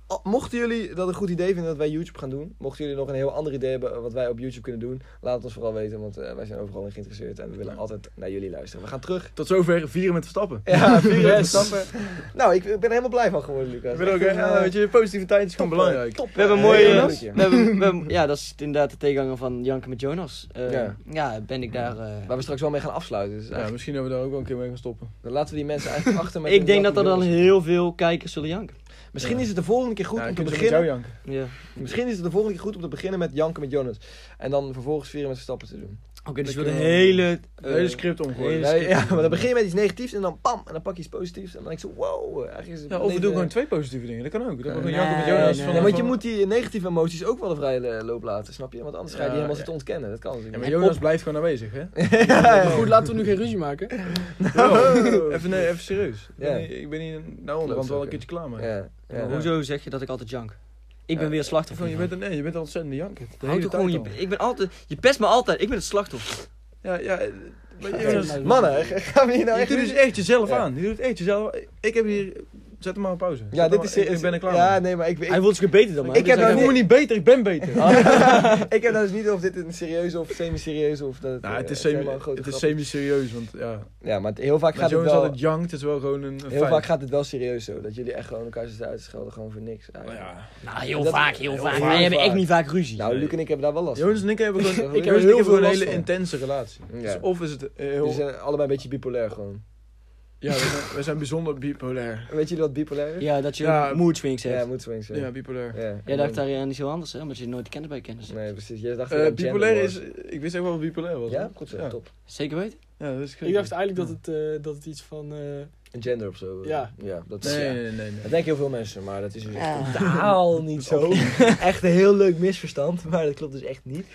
Al- Mochten jullie dat een goed idee vinden dat wij YouTube gaan doen, mochten jullie nog een heel ander idee hebben eh, wat wij op YouTube kunnen doen, laat het ons vooral weten, want eh, wij zijn overal in geïnteresseerd en we willen
Ja.
altijd naar jullie luisteren. We gaan terug.
Tot zover vieren met Verstappen.
Ja, vier uur
Yes.
stappen. Nou, ik, ik ben er helemaal blij van geworden, Lucas.
Ik ben ook,
Echt
hè,
een,
ja,
eh,
weet je, positiviteit is gewoon
top,
belangrijk.
eh, top,
We hebben
eh,
een mooie...
heel
we
leuk, ja.
hebben, we hebben- ja, dat is inderdaad de tegenhanger van Janke met Jonas. Eh,
Ja.
ja. ben ik daar... eh,
Waar we straks wel mee gaan afsluiten. Dus
Ja,
eigenlijk-
misschien dat we daar ook wel een keer mee gaan stoppen.
dan laten we die mensen eigenlijk achter met
ik
hun
denk dat
dag
er
in
dan
Jonas.
heel veel kijkers zullen janken.
Misschien
Ja.
is het de volgende keer goed
Ja,
om
ik
te
heb zo met
beginnen.
jou janken.
Ja.
Misschien is het de volgende keer goed om te beginnen met janken met Jonas. En dan vervolgens vieren met stappen te doen.
Oké, dus
Ik
we de
wil-
hele...
Het hele
eh,
script omgooien.
hele
Nee,
script-
ja, maar dan begin je met iets negatiefs en dan pam, en dan pak je iets positiefs. En dan denk je zo, wow. Eigenlijk is het
Ja, of we
leven-
doen gewoon twee positieve dingen. Dat kan ook. Dat we gewoon
Nee,
janken met Jonas.
nee.
van-
Ja, want je
van-
moet die negatieve emoties ook wel een vrije eh, loop laten, snap je? Want anders ga je die
Ja,
helemaal
ja.
zitten ontkennen. Dat kan dus
Ja, maar
natuurlijk
Jonas blijft gewoon aanwezig, hè?
Maar goed, laten we nu geen ruzie maken.
Yo, even, nee, even serieus. Ik ben
Ja.
niet- Ik ben hier nou onderhand wel een keertje klaar
niet.
mee.
Ja,
Maar
ja.
hoezo zeg je dat ik altijd jank? Ik ben
Ja.
weer
Of
slachtoffer.
gewoon, je bent, een- nee, je bent een ontzettende janker. De
Houd
hele
toch
tijd
gewoon je,
al.
ik ben altijd, je pest me altijd, ik ben het slachtoffer.
Ja, ja. eh, maar
Ja,
Jonas,
nou,
Mannen, g- gaan we hier nou
je
echt...
doet dus
nu-
echt jezelf
Ja.
aan. Je doet echt jezelf Ik heb hier... Zet hem maar op pauze.
Ja, dit
Zet hem
is...
maar- Ik ben er klaar
Ja,
mee.
nee, maar ik... ik
Hij voelt zich beter dan mij.
Ik heb nou
Dus hij-
Ik
niet-
word niet beter, ik ben beter.
ik heb nou dus niet of dit een serieus of semi-serieus of dat...
Nou,
eh,
het is
helemaal
semi-
een grote
het is
grap
semi-serieus, want ja.
Ja, maar het- heel vaak
Maar
gaat het
Jonas
wel...
altijd jankt, het is wel gewoon een een
Heel
feit.
vaak gaat het wel serieus zo. Dat jullie echt gewoon elkaar zitten uit te schelden, gewoon voor niks. eigenlijk.
Ja.
Nou, heel
Dat-
vaak, heel, vaak.
vaak.
Wij hebben echt niet vaak ruzie.
Nou, Luc en ik hebben daar wel last van.
Jonas en ik hebben gewoon,
Ik heb
Jonas en
er heel
ik hebben gewoon
veel
een
last
hele
van.
intense relatie.
Ja. eh,
Dus of is het heel...
Jullie zijn allebei een beetje bipolair gewoon.
Ja, we zijn, we zijn bijzonder bipolair.
Weet jullie wat bipolair is?
Ja, dat je
Ja.
mood swings
ja
hebt.
moet swings.
Ja, bipolair. Eh,
Jij dacht daar aan iets heel anders, hè? Omdat je nooit kennis bij kennis hebt.
Nee, precies. Jij dacht
Eh,
dat jij
bipolair is...
gender
Ik wist ook wel wat bipolair was.
was. Ja,
hoor.
goed zo,
Ja.
top.
Zeker weten?
Ja, dat is
Ik dacht eigenlijk dat het, eh, dat het iets van... eh,
Een gender of zo.
Ja.
Ja, dat is...
Nee,
ja.
nee, nee.
Dat
nee.
denken heel veel mensen, maar dat is dus totaal niet zo. Echt een heel leuk misverstand, maar dat klopt dus echt niet.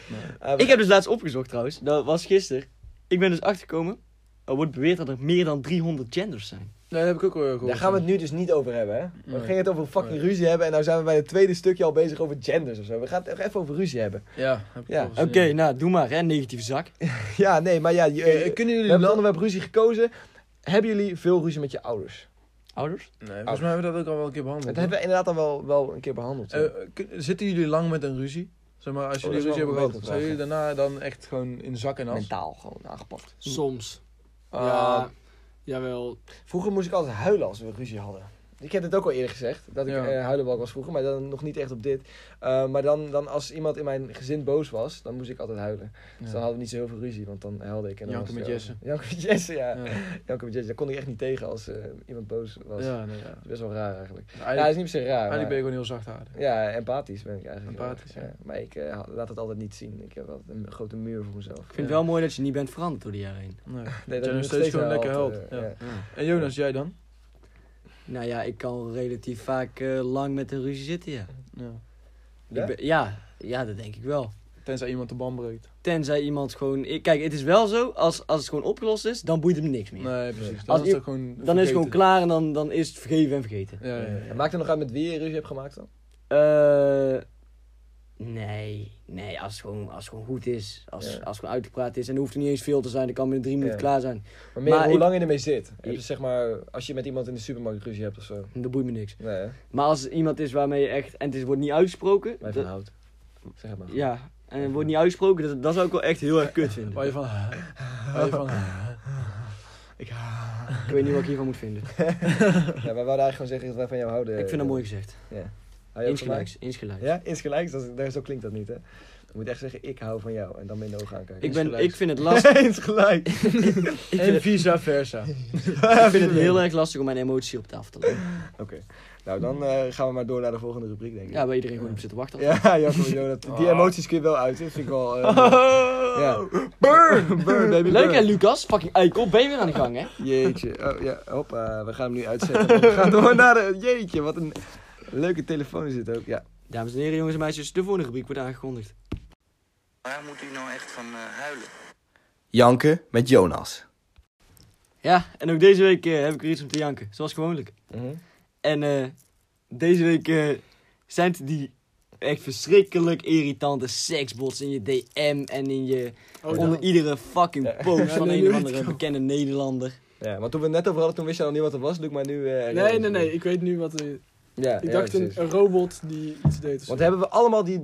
Eh, we-
Ik heb dus laatst opgezocht trouwens, dat was gisteren. Ik ben dus achtergekomen. Er wordt beweerd dat er meer dan 300 genders zijn.
Nee, dat heb ik ook wel gehoord.
Daar gaan we het nu dus niet over hebben, hè? We
Nee.
gingen het over fucking
Nee.
ruzie hebben en nou zijn we bij het tweede stukje al bezig over genders of zo. We gaan het echt even over ruzie hebben.
Ja, heb ik
Ja,
wel
Oké,
gezien.
nou doe maar, hè? Negatieve zak.
Ja, nee, maar ja, je-
Eh,
eh,
kunnen
we
jullie...
hebben het
land-
onderwerp ruzie gekozen. Hebben jullie veel ruzie met je ouders?
Ouders?
Nee, volgens mij hebben we dat ook al wel een keer behandeld.
Dat hebben we inderdaad al wel, wel een keer behandeld. ja.
Eh, kun- zitten jullie lang met een ruzie? Zeg maar, als
Oh,
jullie
dat is
ruzie
wel
hebben
een
gehad,
betere
zijn
vraag,
jullie daarna dan echt gewoon in zak en as?
Mentaal gewoon aangepakt.
soms.
Ah,
Ja, jawel.
Vroeger moest ik altijd huilen als we ruzie hadden. Ik heb dit ook al eerder gezegd, dat ik
Ja.
eh huilenbalk was vroeger, maar dan nog niet echt op dit. Eh, maar dan, dan als iemand in mijn gezin boos was, dan moest ik altijd huilen. Dus dan hadden we niet zo heel veel ruzie, want dan huilde ik. En dan
Janken
was
met
het
Jesse.
over. Janken met Jesse, ja.
Ja.
Janken met Jesse, daar kon ik echt niet tegen als eh, iemand boos was.
Ja, nee, ja.
Dat is best wel raar eigenlijk.
Dus
Ja, dat
Eigenlijk,
is niet per se raar.
eigenlijk
maar-
ben je gewoon heel zachtaardig.
Ja, empathisch ben ik eigenlijk. heel erg,
Empathisch, ja.
Maar ik eh, ha- laat het altijd niet zien. Ik heb altijd een grote muur voor mezelf.
Ik vind het wel mooi dat je niet bent veranderd door de jaren heen.
Nee.
Nee,
Dat je nog steeds gewoon lekker helpt,
eh,
ja. En Jonas, jij dan?
Nou ja, ik kan relatief vaak eh, lang met een ruzie zitten, ja.
Ja.
Ja?
Ik ben- ja. Ja, dat denk ik wel.
Tenzij iemand de ban breekt.
Tenzij iemand gewoon... ik- Kijk, het is wel zo, als, als het gewoon opgelost is, dan boeit het me niks meer.
Nee, precies. Dan
Als
is
i-
het gewoon
Dan is het gewoon
vergeten.
klaar en dan, dan is het vergeven en vergeten.
Ja, ja, ja.
En Maakt het nog uit met wie je ruzie hebt gemaakt dan?
Eh, nee, nee, als het gewoon, als het gewoon goed is, als,
Ja.
als het gewoon uitgepraat is en er hoeft er niet eens veel te zijn, dan kan binnen drie minuten
Ja.
klaar zijn.
Maar meer
Maar
hoe
ik-
lang je ermee zit. Heb je,
Ik-
zeg maar, als je met iemand in de supermarkt ruzie hebt of zo.
En dat boeit me niks.
Nee, hè?
Maar als er iemand is waarmee je echt, en het wordt niet uitgesproken,
Wij van
dat-
hout. Zeg het maar.
ja, en het wordt niet uitgesproken, dat, dat zou ik wel echt heel erg kut vinden.
Waar je van... Waar je van...
Ik weet niet wat ik hiervan moet vinden.
Ja, wij wouden eigenlijk gewoon zeggen dat wij van jou houden.
ik vind dat mooi gezegd.
Hou je ook van mij?
Insgelijks, insgelijks.
Ja, insgelijks. Dat is, daar- zo klinkt dat niet, hè? Je moet echt zeggen, ik hou van jou. En dan minder ogen aankijken.
Ik, ben, ik
Insgelijks.
vind het lastig.
insgelijk.
Ik
En
vind,
vice versa.
het, ik vind het heel erg lastig om mijn emotie op tafel te leggen.
Oké. Nou, dan eh, gaan we maar door naar de volgende rubriek, denk ik.
Ja, waar iedereen gewoon op zit te wachten.
Ja, Jacco, joh, dat, die
Oh.
emoties kun je wel uiten. Vind ik wel. eh, ja. Burn! Burn, baby.
Leuk
burn.
hè Lucas, fucking eikel, ben je weer aan de gang hè?
Jeetje. Oh, ja, hoppa, we gaan hem nu uitzetten. We gaan door naar de. Jeetje, wat een leuke telefoon is dit ook. Ja.
Dames en heren, jongens en meisjes, de volgende rubriek wordt aangekondigd.
Waar moet u nou echt van eh, huilen?
Janken met Jonas.
Ja, en ook deze week eh, heb ik weer iets om te janken, zoals gewoonlijk.
Mhm.
En eh, deze week eh, zijn het die echt verschrikkelijk irritante seksbots in je DM en in je,
Oh,
onder
dan.
iedere fucking post
Ja,
van
nee,
een
nu
of
weet
andere
ik al.
bekende Nederlander.
ja, want toen we het net over hadden, toen wist je nog niet wat het was. Doe ik maar nu. eh,
Nee,
realiseer.
nee, nee. Ik weet nu wat... eh,
Ja,
ik
ja,
dacht een,
precies.
een robot die iets deed of zo.
Want hebben we allemaal die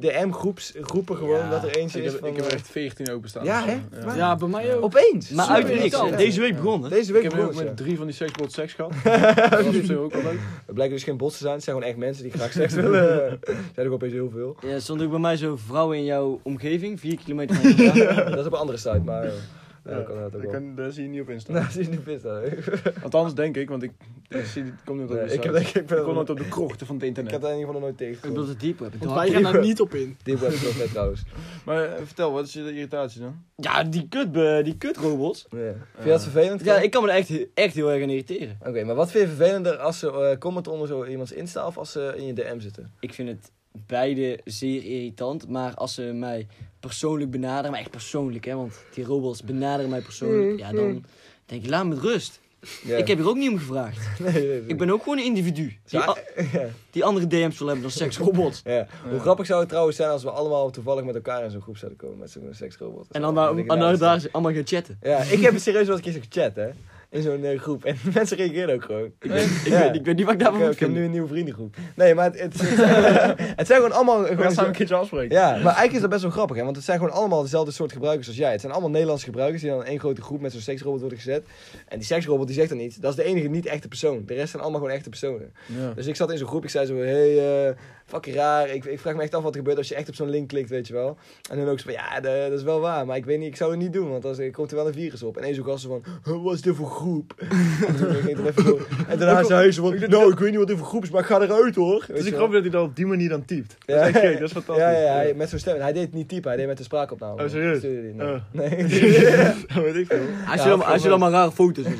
DM-groepen gewoon,
Ja,
dat er eentje
Ik
is
heb,
van...
ik heb
eh,
er echt 14 openstaan.
Ja,
of
hè?
zo.
Maar-
Ja, bij mij ook.
Opeens!
Maar
Super
uit het niks,
irritant.
hè. deze week begonnen.
Deze
Ik
week
heb nu ook
begonnen.
met drie van die seksbots seks gehad. Dat was op zich ook wel leuk.
Het blijken dus geen bots te zijn, het zijn gewoon echt mensen die graag seks willen. Er zijn ook opeens heel veel.
Ja, er stond ook bij mij zo vrouwen in jouw omgeving, vier kilometer van je vandaan.
Dat is op een andere site, maar... eh, ja, dat kan dat ook
Daar
wel.
kan- Daar zie je niet op in staan.
Nou, zie je nu pist aan.
Althans, denk ik, want ik, ik zie, ik kom niet op de
Ik heb
website.
denk ik
Ik kom
wel...
niet op de krochten van het
Ik
internet.
heb daar in ieder geval nog nooit
Ik bedoel
tegengekomen.
de deep web.
Want wij gaan daar niet op in.
Dit was het net trouwens.
Maar eh, vertel, wat is je irritatie dan?
Ja, die kut, die kutrobots.
Ja. Vind je dat vervelend?
Ja,
Tom?
ik kan me er echt, echt heel erg aan irriteren.
Oké, maar wat vind je vervelender als ze eh, comment onder zo iemands Insta of als ze in je DM zitten?
Ik vind het beide zeer irritant. Maar als ze mij persoonlijk benaderen, maar echt persoonlijk, hè, want die robots benaderen mij persoonlijk, ja, dan denk ik, laat me met rust.
Mm, Ja.
Ik heb hier ook niet om gevraagd.
Nee, nee, nee.
Ik ben ook gewoon een individu. Die,
Ja,
a- die andere DM's wil hebben dan seksrobots.
Ja. Hoe grappig zou het trouwens zijn als we allemaal toevallig met elkaar in zo'n groep zouden komen met zo'n seksrobot.
En dan
Zo,
maar,
denk ik,
en
nou,
dan
dat is-
daar allemaal gaan chatten.
Ja, ik heb serieus wel eens een keer zo'n chat, hè. In zo'n eh, groep. En mensen reageren ook gewoon.
Ik weet, ik,
Ja.
weet, ik weet niet wat ik daarvan
Ik,
moet
ik heb nu
vinden.
een nieuwe vriendengroep. Nee, maar het, het, het zijn, het zijn gewoon allemaal...
We gaan
Gewoon
samen een keertje afspreken.
ja, maar eigenlijk is dat best wel grappig, hè. Want het zijn gewoon allemaal dezelfde soort gebruikers als jij. Het zijn allemaal Nederlandse gebruikers die dan in één grote groep met zo'n seksrobot worden gezet. En die seksrobot die zegt dan iets. Dat is de enige niet echte persoon. De rest zijn allemaal gewoon echte personen.
Ja.
Dus ik zat in zo'n groep, ik zei zo, hey, eh fucking raar. Ik, ik vraag me echt af wat er gebeurt als je echt op zo'n link klikt, weet je wel. En dan ook zo van, ja, de- dat is wel waar, maar ik weet niet, ik zou het niet doen, want dan komt er wel een virus op. En één zo'n gast zo van, "Huh, wat is dit voor groep? en toen ging ik er even door. En daarna zei hij zo van, nou, ik weet niet wat dit voor groep is, maar ik ga eruit hoor. Weet
Het is
je wel.
grappig dat hij dat op die manier dan typt.
Ja.
Dat is echt gek, dat is fantastisch.
Ja, ja, hij- met zo'n stem. En Hij deed het niet typen, hij deed met de spraakopname.
Oh, serieus?
Stuurde hij
Eh.
niet. Nee.
Dat weet ik veel.
Als
Ja,
je, dan, als je dan maar rare foto's doet.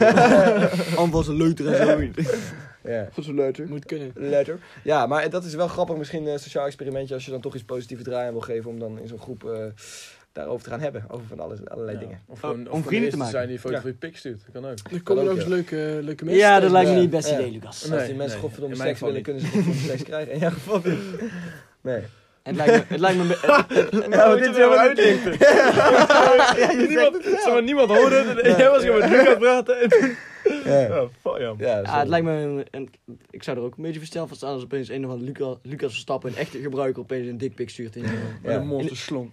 Anne was een leuter en zo.
ja.
Goed zo leuter.
Moet kunnen.
Letter. Ja, maar dat is wel grappig. Misschien een sociaal experimentje als je dan toch iets positiefs draaien wil geven om dan in zo'n groep eh, daarover te gaan hebben. Over van alles, allerlei dingen.
Of
Om
gewoon,
vrienden
of gewoon
te
eerst te
maken.
zijn die een foto
Ja.
van je pik stuurt. Dat kan ook.
Er komen
ook,
nog eens
ja.
leuke, leuke mensen.
Ja, dat
tegen.
lijkt me
Ja.
niet het eh, beste
Ja.
idee, Lucas.
Als die
Nee,
mensen
nee,
godverdomme
in mijn
seks willen,
geval
kunnen ze godverdomme seks krijgen. In jouw geval niet. Nee.
En het lijkt me... Het lijkt me eh,
Nou, dit is helemaal niet.
Niemand, zeg maar, niemand hoorde het. En Jij was gewoon met Luca aan het praten. En toen...
Ja,
Oh, fuck ja.
ja,
Ja, het lijkt me een, een- ik zou er ook een beetje versteld van staan als opeens een of andere Lucas, Lucas Verstappen, een echte gebruiker, opeens een dikpik stuurt in, eh, de-
Met
Ja.
een monster slong.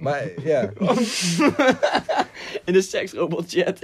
Maar, ja.
in de seksrobot chat.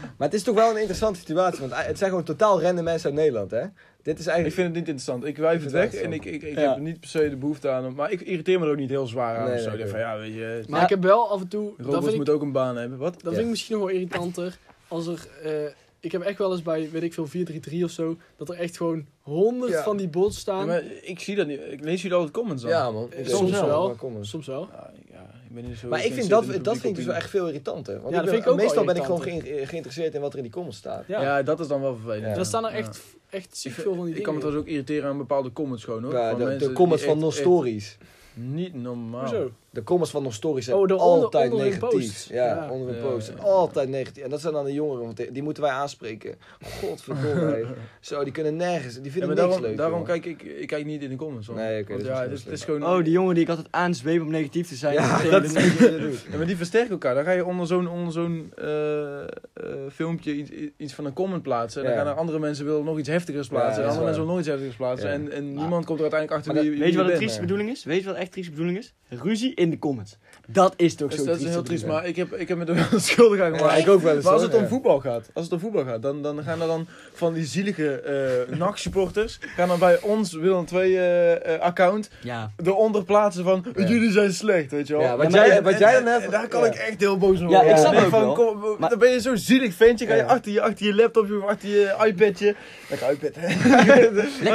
maar het is toch wel een interessante situatie, want eh, het zijn gewoon totaal random mensen uit Nederland, hè? Dit is
Ik
eigenlijk...
vind het niet interessant. Ik wuif het
Ik vind
weg
het
en ik, ik, ik
Ja.
heb er niet per se de behoefte aan. om- Maar ik irriteer me er ook niet heel zwaar aan.
Nee,
of zo.
nee,
Ik denk
nee.
van, ja, weet je,
Maar
Ja.
ik heb wel af en toe... Dat
robots
vind ik,
moeten ook een baan hebben. Wat?
dat
Ja.
vind ik misschien nog wel irritanter. Als er... eh, ik heb echt wel eens bij, weet ik veel, 433 of zo... Dat er echt gewoon honderd
Ja.
van die bots staan.
Ja, maar ik zie dat niet. Ik lees jullie al het comments aan.
Ja, man.
Eh,
Ik
soms
weet het
wel.
maar kom eens.
Soms wel.
Ja, ja, ik ben niet zo
Maar ik vind
geïnteresseerd
dat,
in de
dat vind ik dus
publieke
wel echt veel irritanter. Want
Ja,
ik
dat
ben-
vind ik ook wel
meestal ben ik gewoon geïn- geïnteresseerd in wat er in die comments staat.
Ja.
opinie. Ja, dat is dan wel vervelend.
Ja.
En dan staan er
Ja.
echt, echt ziek
Ik,
veel van die
ik kan me
dingen.
trouwens ook irriteren aan bepaalde comments gewoon hoor.
Ja,
van
de,
mensen
de
die
comments van
echt- echt
non-stories.
Niet normaal.
Hoezo?
De comments van non-stories zijn
Oh, de onder-
altijd
onder hun
negatief.
posts.
Ja,
Ja.
onder een
Ja,
post.
ja, ja.
Altijd negatief. En dat zijn dan de jongeren, want die- die moeten wij aanspreken. Godverdomme. hé. Zo, die kunnen nergens. Die
Ja,
vinden
maar
niks
daarom,
leuk.
daarom
jongen.
kijk ik, ik kijk niet in de comments. hoor.
Nee, oké,
Want
dat is
ja,
misschien
dus het is
wel
gewoon.
Oh, die jongen die ik altijd aanzweep om negatief te zijn.
Ja,
dat
dat is niet wat je doet.
Ja, maar die versterken elkaar. Dan ga je onder zo'n onder zo'n eh, eh, filmpje iets, iets van een comment plaatsen. En dan
Ja.
gaan er andere mensen willen nog iets heftigers plaatsen.
Ja,
en
dat is
andere
waar.
mensen willen nog iets heftigers plaatsen.
Ja.
En, en
Maar-
niemand komt er uiteindelijk achter
Maar
wie,
dat-
wie
Weet je wat
je
de
bent.
trieste bedoeling is? Weet je wat echt trieste bedoeling is? Ruzie in de comments. Dat is toch
Dus
zo
dat is heel
trieste
triest,
bedoeling.
maar ik heb, ik heb me er wel schuldig aan
Ja,
gemaakt.
ik ook wel eens.
Maar als
hoor,
het om
ja.
voetbal gaat, als het om voetbal gaat, dan, dan gaan er dan van die zielige eh NAC-supporters, gaan dan bij ons Willem 2 eh eh, account
Ja.
eronder plaatsen van,
Ja.
jullie zijn slecht, weet je wel.
Ja, wat
En-
jij-
en-
wat jij dan
en-
hebt-
en daar kan
ja.
ik echt heel boos om
Ja,
worden.
ik snap
denk
ook wel.
kom,
Maar-
Dan ben je zo'n zielig ventje, ga je
Ja.
achter, je achter je laptopje of achter je iPadje. Lekker iPad, hè. Achter je i-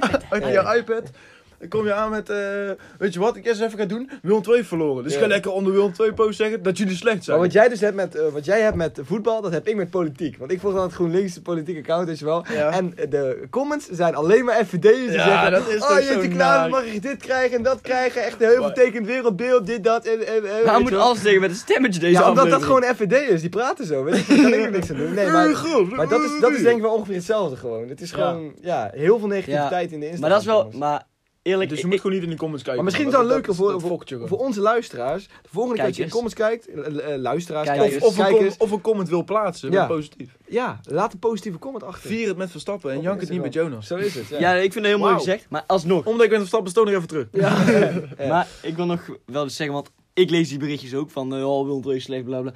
Achter je iPad. Dan kom je aan met, eh, weet je wat, ik eerst even ga doen, Willem 2 verloren. Dus
Ja.
ga lekker onder Willem 2 post zeggen dat jullie slecht
Maar
zijn.
wat jij dus hebt met, eh, wat jij hebt met voetbal, dat heb ik met politiek. Want ik volg dan het GroenLinks politieke account, weet je wel.
Ja.
En eh, de comments zijn alleen maar FVD'ers die
Ja,
zeggen...
dat is
oh,
toch
je
zo
te klaar,
naar."
mag ik dit krijgen en dat krijgen. Echt een heel
Maar-
vertekend wereldbeeld, dit, dat en... en, en weet
Waarom
je
moet
wel.
alles tegen met een stemmetje deze
Ja, omdat dat
aflevering?
gewoon FVD is. Die praten zo, weet je. Daar kan ik ook niks aan doen. Nee, maar, maar dat, is, dat is denk ik wel ongeveer hetzelfde gewoon. Het is gewoon, ja, heel veel negativiteit in de Instagram.
Maar dat is wel...
comments.
Maar eerlijk,
Dus
ik-
je moet gewoon niet in de comments kijken.
Maar misschien is
dat
dat leuker voor,
dat
voor,
fokt je gewoon.
voor onze luisteraars. De volgende keer dat je in
Kijkers.
de comments kijkt, eh, eh, luisteraars,
Kijkers.
kijkers,
Of, of, een
kijkers.
comment, of een comment wil plaatsen, maar
Ja.
positief.
Ja, laat een positieve comment achter.
Vier het met Verstappen en
Op
jank het niet met
Instagram.
Jonas.
Zo is het, ja.
ja, ik vind het heel mooi
Wauw.
gezegd, maar alsnog. eh,
Omdat ik met Verstappen stoon nog even terug.
Ja. Ja.
Maar ik wil nog wel eens zeggen, want ik lees die berichtjes ook van... eh, oh, Willem II is slecht, bla bla.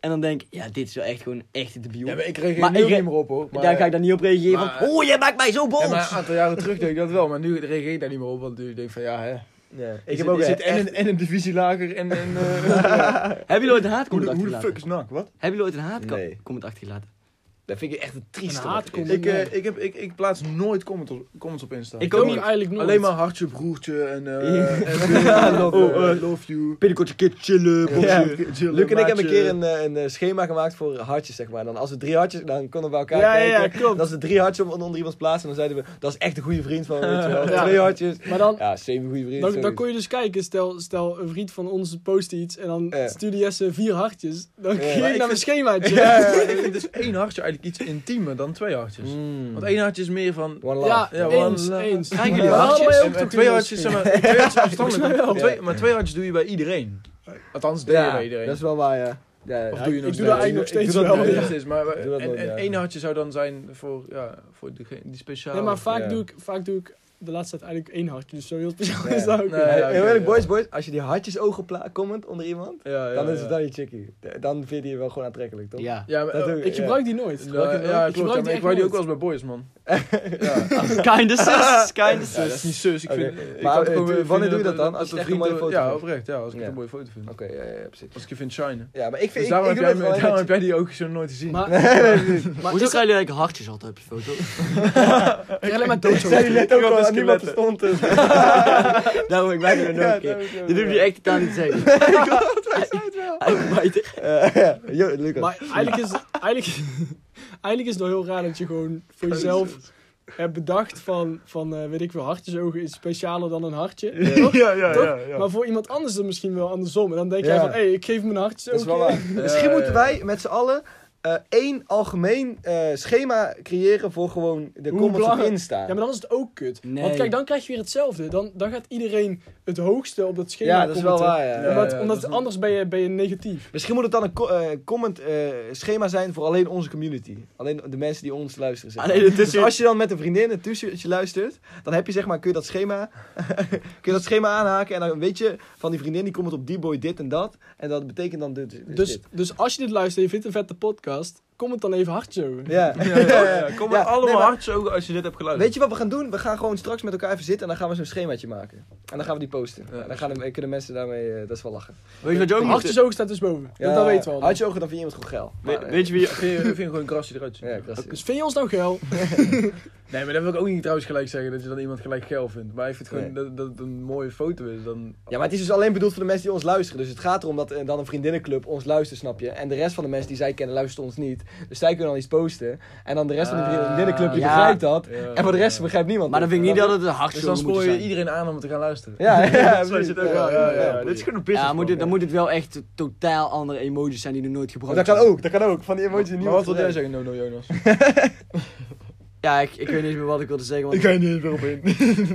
En dan denk ik, ja, dit is wel echt gewoon echt debiel.
Ja, maar ik reageer
Maar
nu
ik
ook
re-
niet meer op hoor. Maar,
Daar ga ik dan niet op reageren
maar-
van... Oh, jij maakt mij zo boos!
Ja, maar een aantal jaren terug deed ik dat wel, maar nu reageer ik daar niet meer op. Want nu denk ik van ja, hè.
Ik
zit-
heb ook
zit
echt...
en, een, en een divisie lager en. en eh,
Hebben jullie ooit een
hoe,
haatcomment
de, hoe de
achtergelaten?
fuck is NAC? Wat?
Hebben jullie ooit een haatcomment
Nee.
achtergelaten?
Dat vind ik echt een
Een
trieste
haatcomment.
Ik,
Nee.
eh, ik, heb, ik, ik plaats nooit comment op, comments op Insta.
Ik
Ik ook
niet.
eigenlijk nooit.
Alleen maar hartje, broertje en. eh en,
love
oh,
you.
eh, love you.
Binnenkort een keer chillen,
Ja.
bosje.
Luc en ik hebben een keer een, eh, een eh, schema gemaakt voor hartjes, zeg maar. Dan als we drie hartjes, dan konden we bij elkaar
Ja, ja, ja,
kijken.
klopt.
En als we drie hartjes onder, onder iemands plaatsen, dan zeiden we, dat is echt een goede vriend van, weet je wel.
Ja.
Twee hartjes.
Maar dan,
Ja, zeven goede vriend.
dan,
zoiets.
dan kon je dus kijken, stel, stel een vriend van ons post iets en dan
Ja.
stuurde Jesse vier hartjes. Dan
Maar ik
ging ik naar
vind-
mijn schemaatje.
Ja, ja, ja. ik vind dus één hartje eigenlijk iets intiemer dan twee hartjes.
Mm.
Want één hartje is meer van.
One love.
Ja,
Ja,
eens,
voilà.
eens.
Krijgen
Maar
jullie
dat hadden
hartjes?
wij
En-
ook
en
toch
twee
toen
hartjes,
ons-
zeg maar. Twee hartjes afstandelijk.
wel.
Maar twee- Maar twee hartjes doe je bij iedereen. Althans, deed je
Ja,
bij iedereen.
dat is wel waar, ja. ja
Of
ja.
doe je nog
ik doe dat eigenlijk nog
steeds?
steeds
Ik doe
wel.
dat
ja.
nog steeds, maar
Ik doe dat
en,
nooit,
en
ja.
één hartje zou dan zijn voor, ja, voor degene, die speciale.
Nee, maar vaak
Ja.
doe, ik, vaak doe ik de laatste tijd eigenlijk één hartje. Dus zo heel speciaal
Ja.
is dat ook.
Nee.
niet.
Hey,
ja,
heel
oké,
eerlijk,
ja.
boys, boys. Als je die hartjes ogen pla- comment onder iemand,
Ja, ja,
dan is het
ja.
dan je chickie. D- Dan vind je je wel gewoon aantrekkelijk, toch?
Ja.
Ja, maar,
Dat doe
Ik
ja.
gebruik die nooit.
ja, ja, ja,
Ik
klopt, ja,
gebruik
maar
die
ik wou die ook
echt
wel
nooit.
eens bij boys, man. ja.
Kinda sus, kinda
Ja, dat is
sus.
niet zus. Ik
Oké.
vind, ik
Maar,
had
eh,
gewoon
doe-
weer
wanneer
vinden
doe je dat dan? Als je
dat
echt een
vrienden-
mooie foto
Ja,
vindt?
oprecht. Ja, als ik
Ja.
een mooie foto vind.
Oké, ja, ja, ja, precies.
Als ik je vind shinen.
Ja, maar ik vind...
Dus
ik-
daarom
ik
heb jij
doe
me-
dat wel
daarom
met-
heb jij die ook zo nooit gezien.
Maar, maar
Hoezo
is,
krijgen jullie eigenlijk hartjes altijd op je foto?
ik krijg alleen maar
Ik zei
doodzooi.
net ook
Ik had
al,
een
aan niemand
skelet.
verstond dus- het.
Daarom, ik maak er nog een keer. Dit hoef je echt totaal niet te zeggen. Uitbijter.
Eh, Jo, Lucas.
Maar eigenlijk is, eigenlijk, eigenlijk is het wel heel raar dat je gewoon voor jezelf hebt bedacht van, van eh, weet ik veel, hartjesogen is specialer dan een hartje. Toch?
Ja, ja,
Toch?
ja. ja.
Maar voor iemand anders is het misschien wel andersom. En dan denk jij
Ja.
van, hé, hey, ik geef hem een
Dat is wel
hartjesoogje.
waar. Eh, Misschien moeten wij met z'n allen eh, één algemeen eh, schema creëren voor gewoon de
Hoe
comments op
belangrijk-
Insta.
Ja, maar dan is het ook kut.
Nee.
Want kijk, dan krijg je weer hetzelfde. Dan, dan gaat iedereen het hoogste op dat schema
Ja, dat is wel
commenten.
waar, ja.
Ja.
Omdat, omdat
dat is-
anders ben je, ben je negatief.
Misschien moet het dan een co- eh, comment eh, schema zijn voor alleen onze community. Alleen de mensen die ons luisteren.
Ah,
zeg maar.
Alleen de
Dus
tussen...
als je dan met een vriendin een tussentje luistert, dan heb je zeg maar, kun je dat schema, kun je dat schema aanhaken en dan weet je van die vriendin die komt op die boy dit en dat. En dat betekent dan dit. dit,
Dus,
dit.
dus als je dit luistert en je vindt een vette podcast, kom het dan even hard zo.
Ja.
Ja, ja, ja. Kom maar
Ja,
allemaal
nee, maar-
hard zogen als je dit hebt geluisterd.
Weet je wat we gaan doen? We gaan gewoon straks met elkaar even zitten en dan gaan we zo'n schemaatje maken. En dan gaan we die posten.
Ja.
En dan gaan de, kunnen mensen daarmee, eh, dat is wel lachen.
Weet je wat je ook moet-
Hartjes ogen staat dus boven. Dat, dat weten we al.
Had je ogen, dan vind je iemand goed geil.
We-
Maar, eh,
Weet je wie je vind je- vind je gewoon een krasje eruit ziet?
Ja, krassie.
Dus vind je ons nou geil?
Nee, maar dat wil ik ook niet trouwens gelijk zeggen dat je dan iemand gelijk geil vindt. Maar ik vind gewoon
Nee.
dat, dat het een mooie foto is. Dan...
Ja, maar het is dus alleen bedoeld voor de mensen die ons luisteren. Dus het gaat erom dat eh, dan een vriendinnenclub ons luistert, snap je? En de rest van de mensen die zij kennen luisteren ons niet. Dus zij kunnen dan iets posten. En dan de rest van de
Ah,
vriendinnenclub die
ja.
begrijpt dat.
Ja.
En voor de rest begrijpt niemand.
Maar dan vind ik niet dat het een hard
Dus dan
moet
spoor je
zijn.
iedereen aan om te gaan luisteren.
Ja, ja,
dat is
precies.
het ook wel. Ja, ja, ja. Dit is gewoon een business.
Ja, moet
plan.
het, dan moet het wel echt totaal andere emojis zijn die nog nooit
Maar
gebruikt
Oh, dat kan
zijn.
ook, dat kan ook. Van die emoties die
Maar
niemand
wat wil jij
begrijpt.
zeggen, Nono Jonas?
Ja, ik, ik weet niet eens meer wat ik wilde zeggen. Want...
ga niet eens meer op in.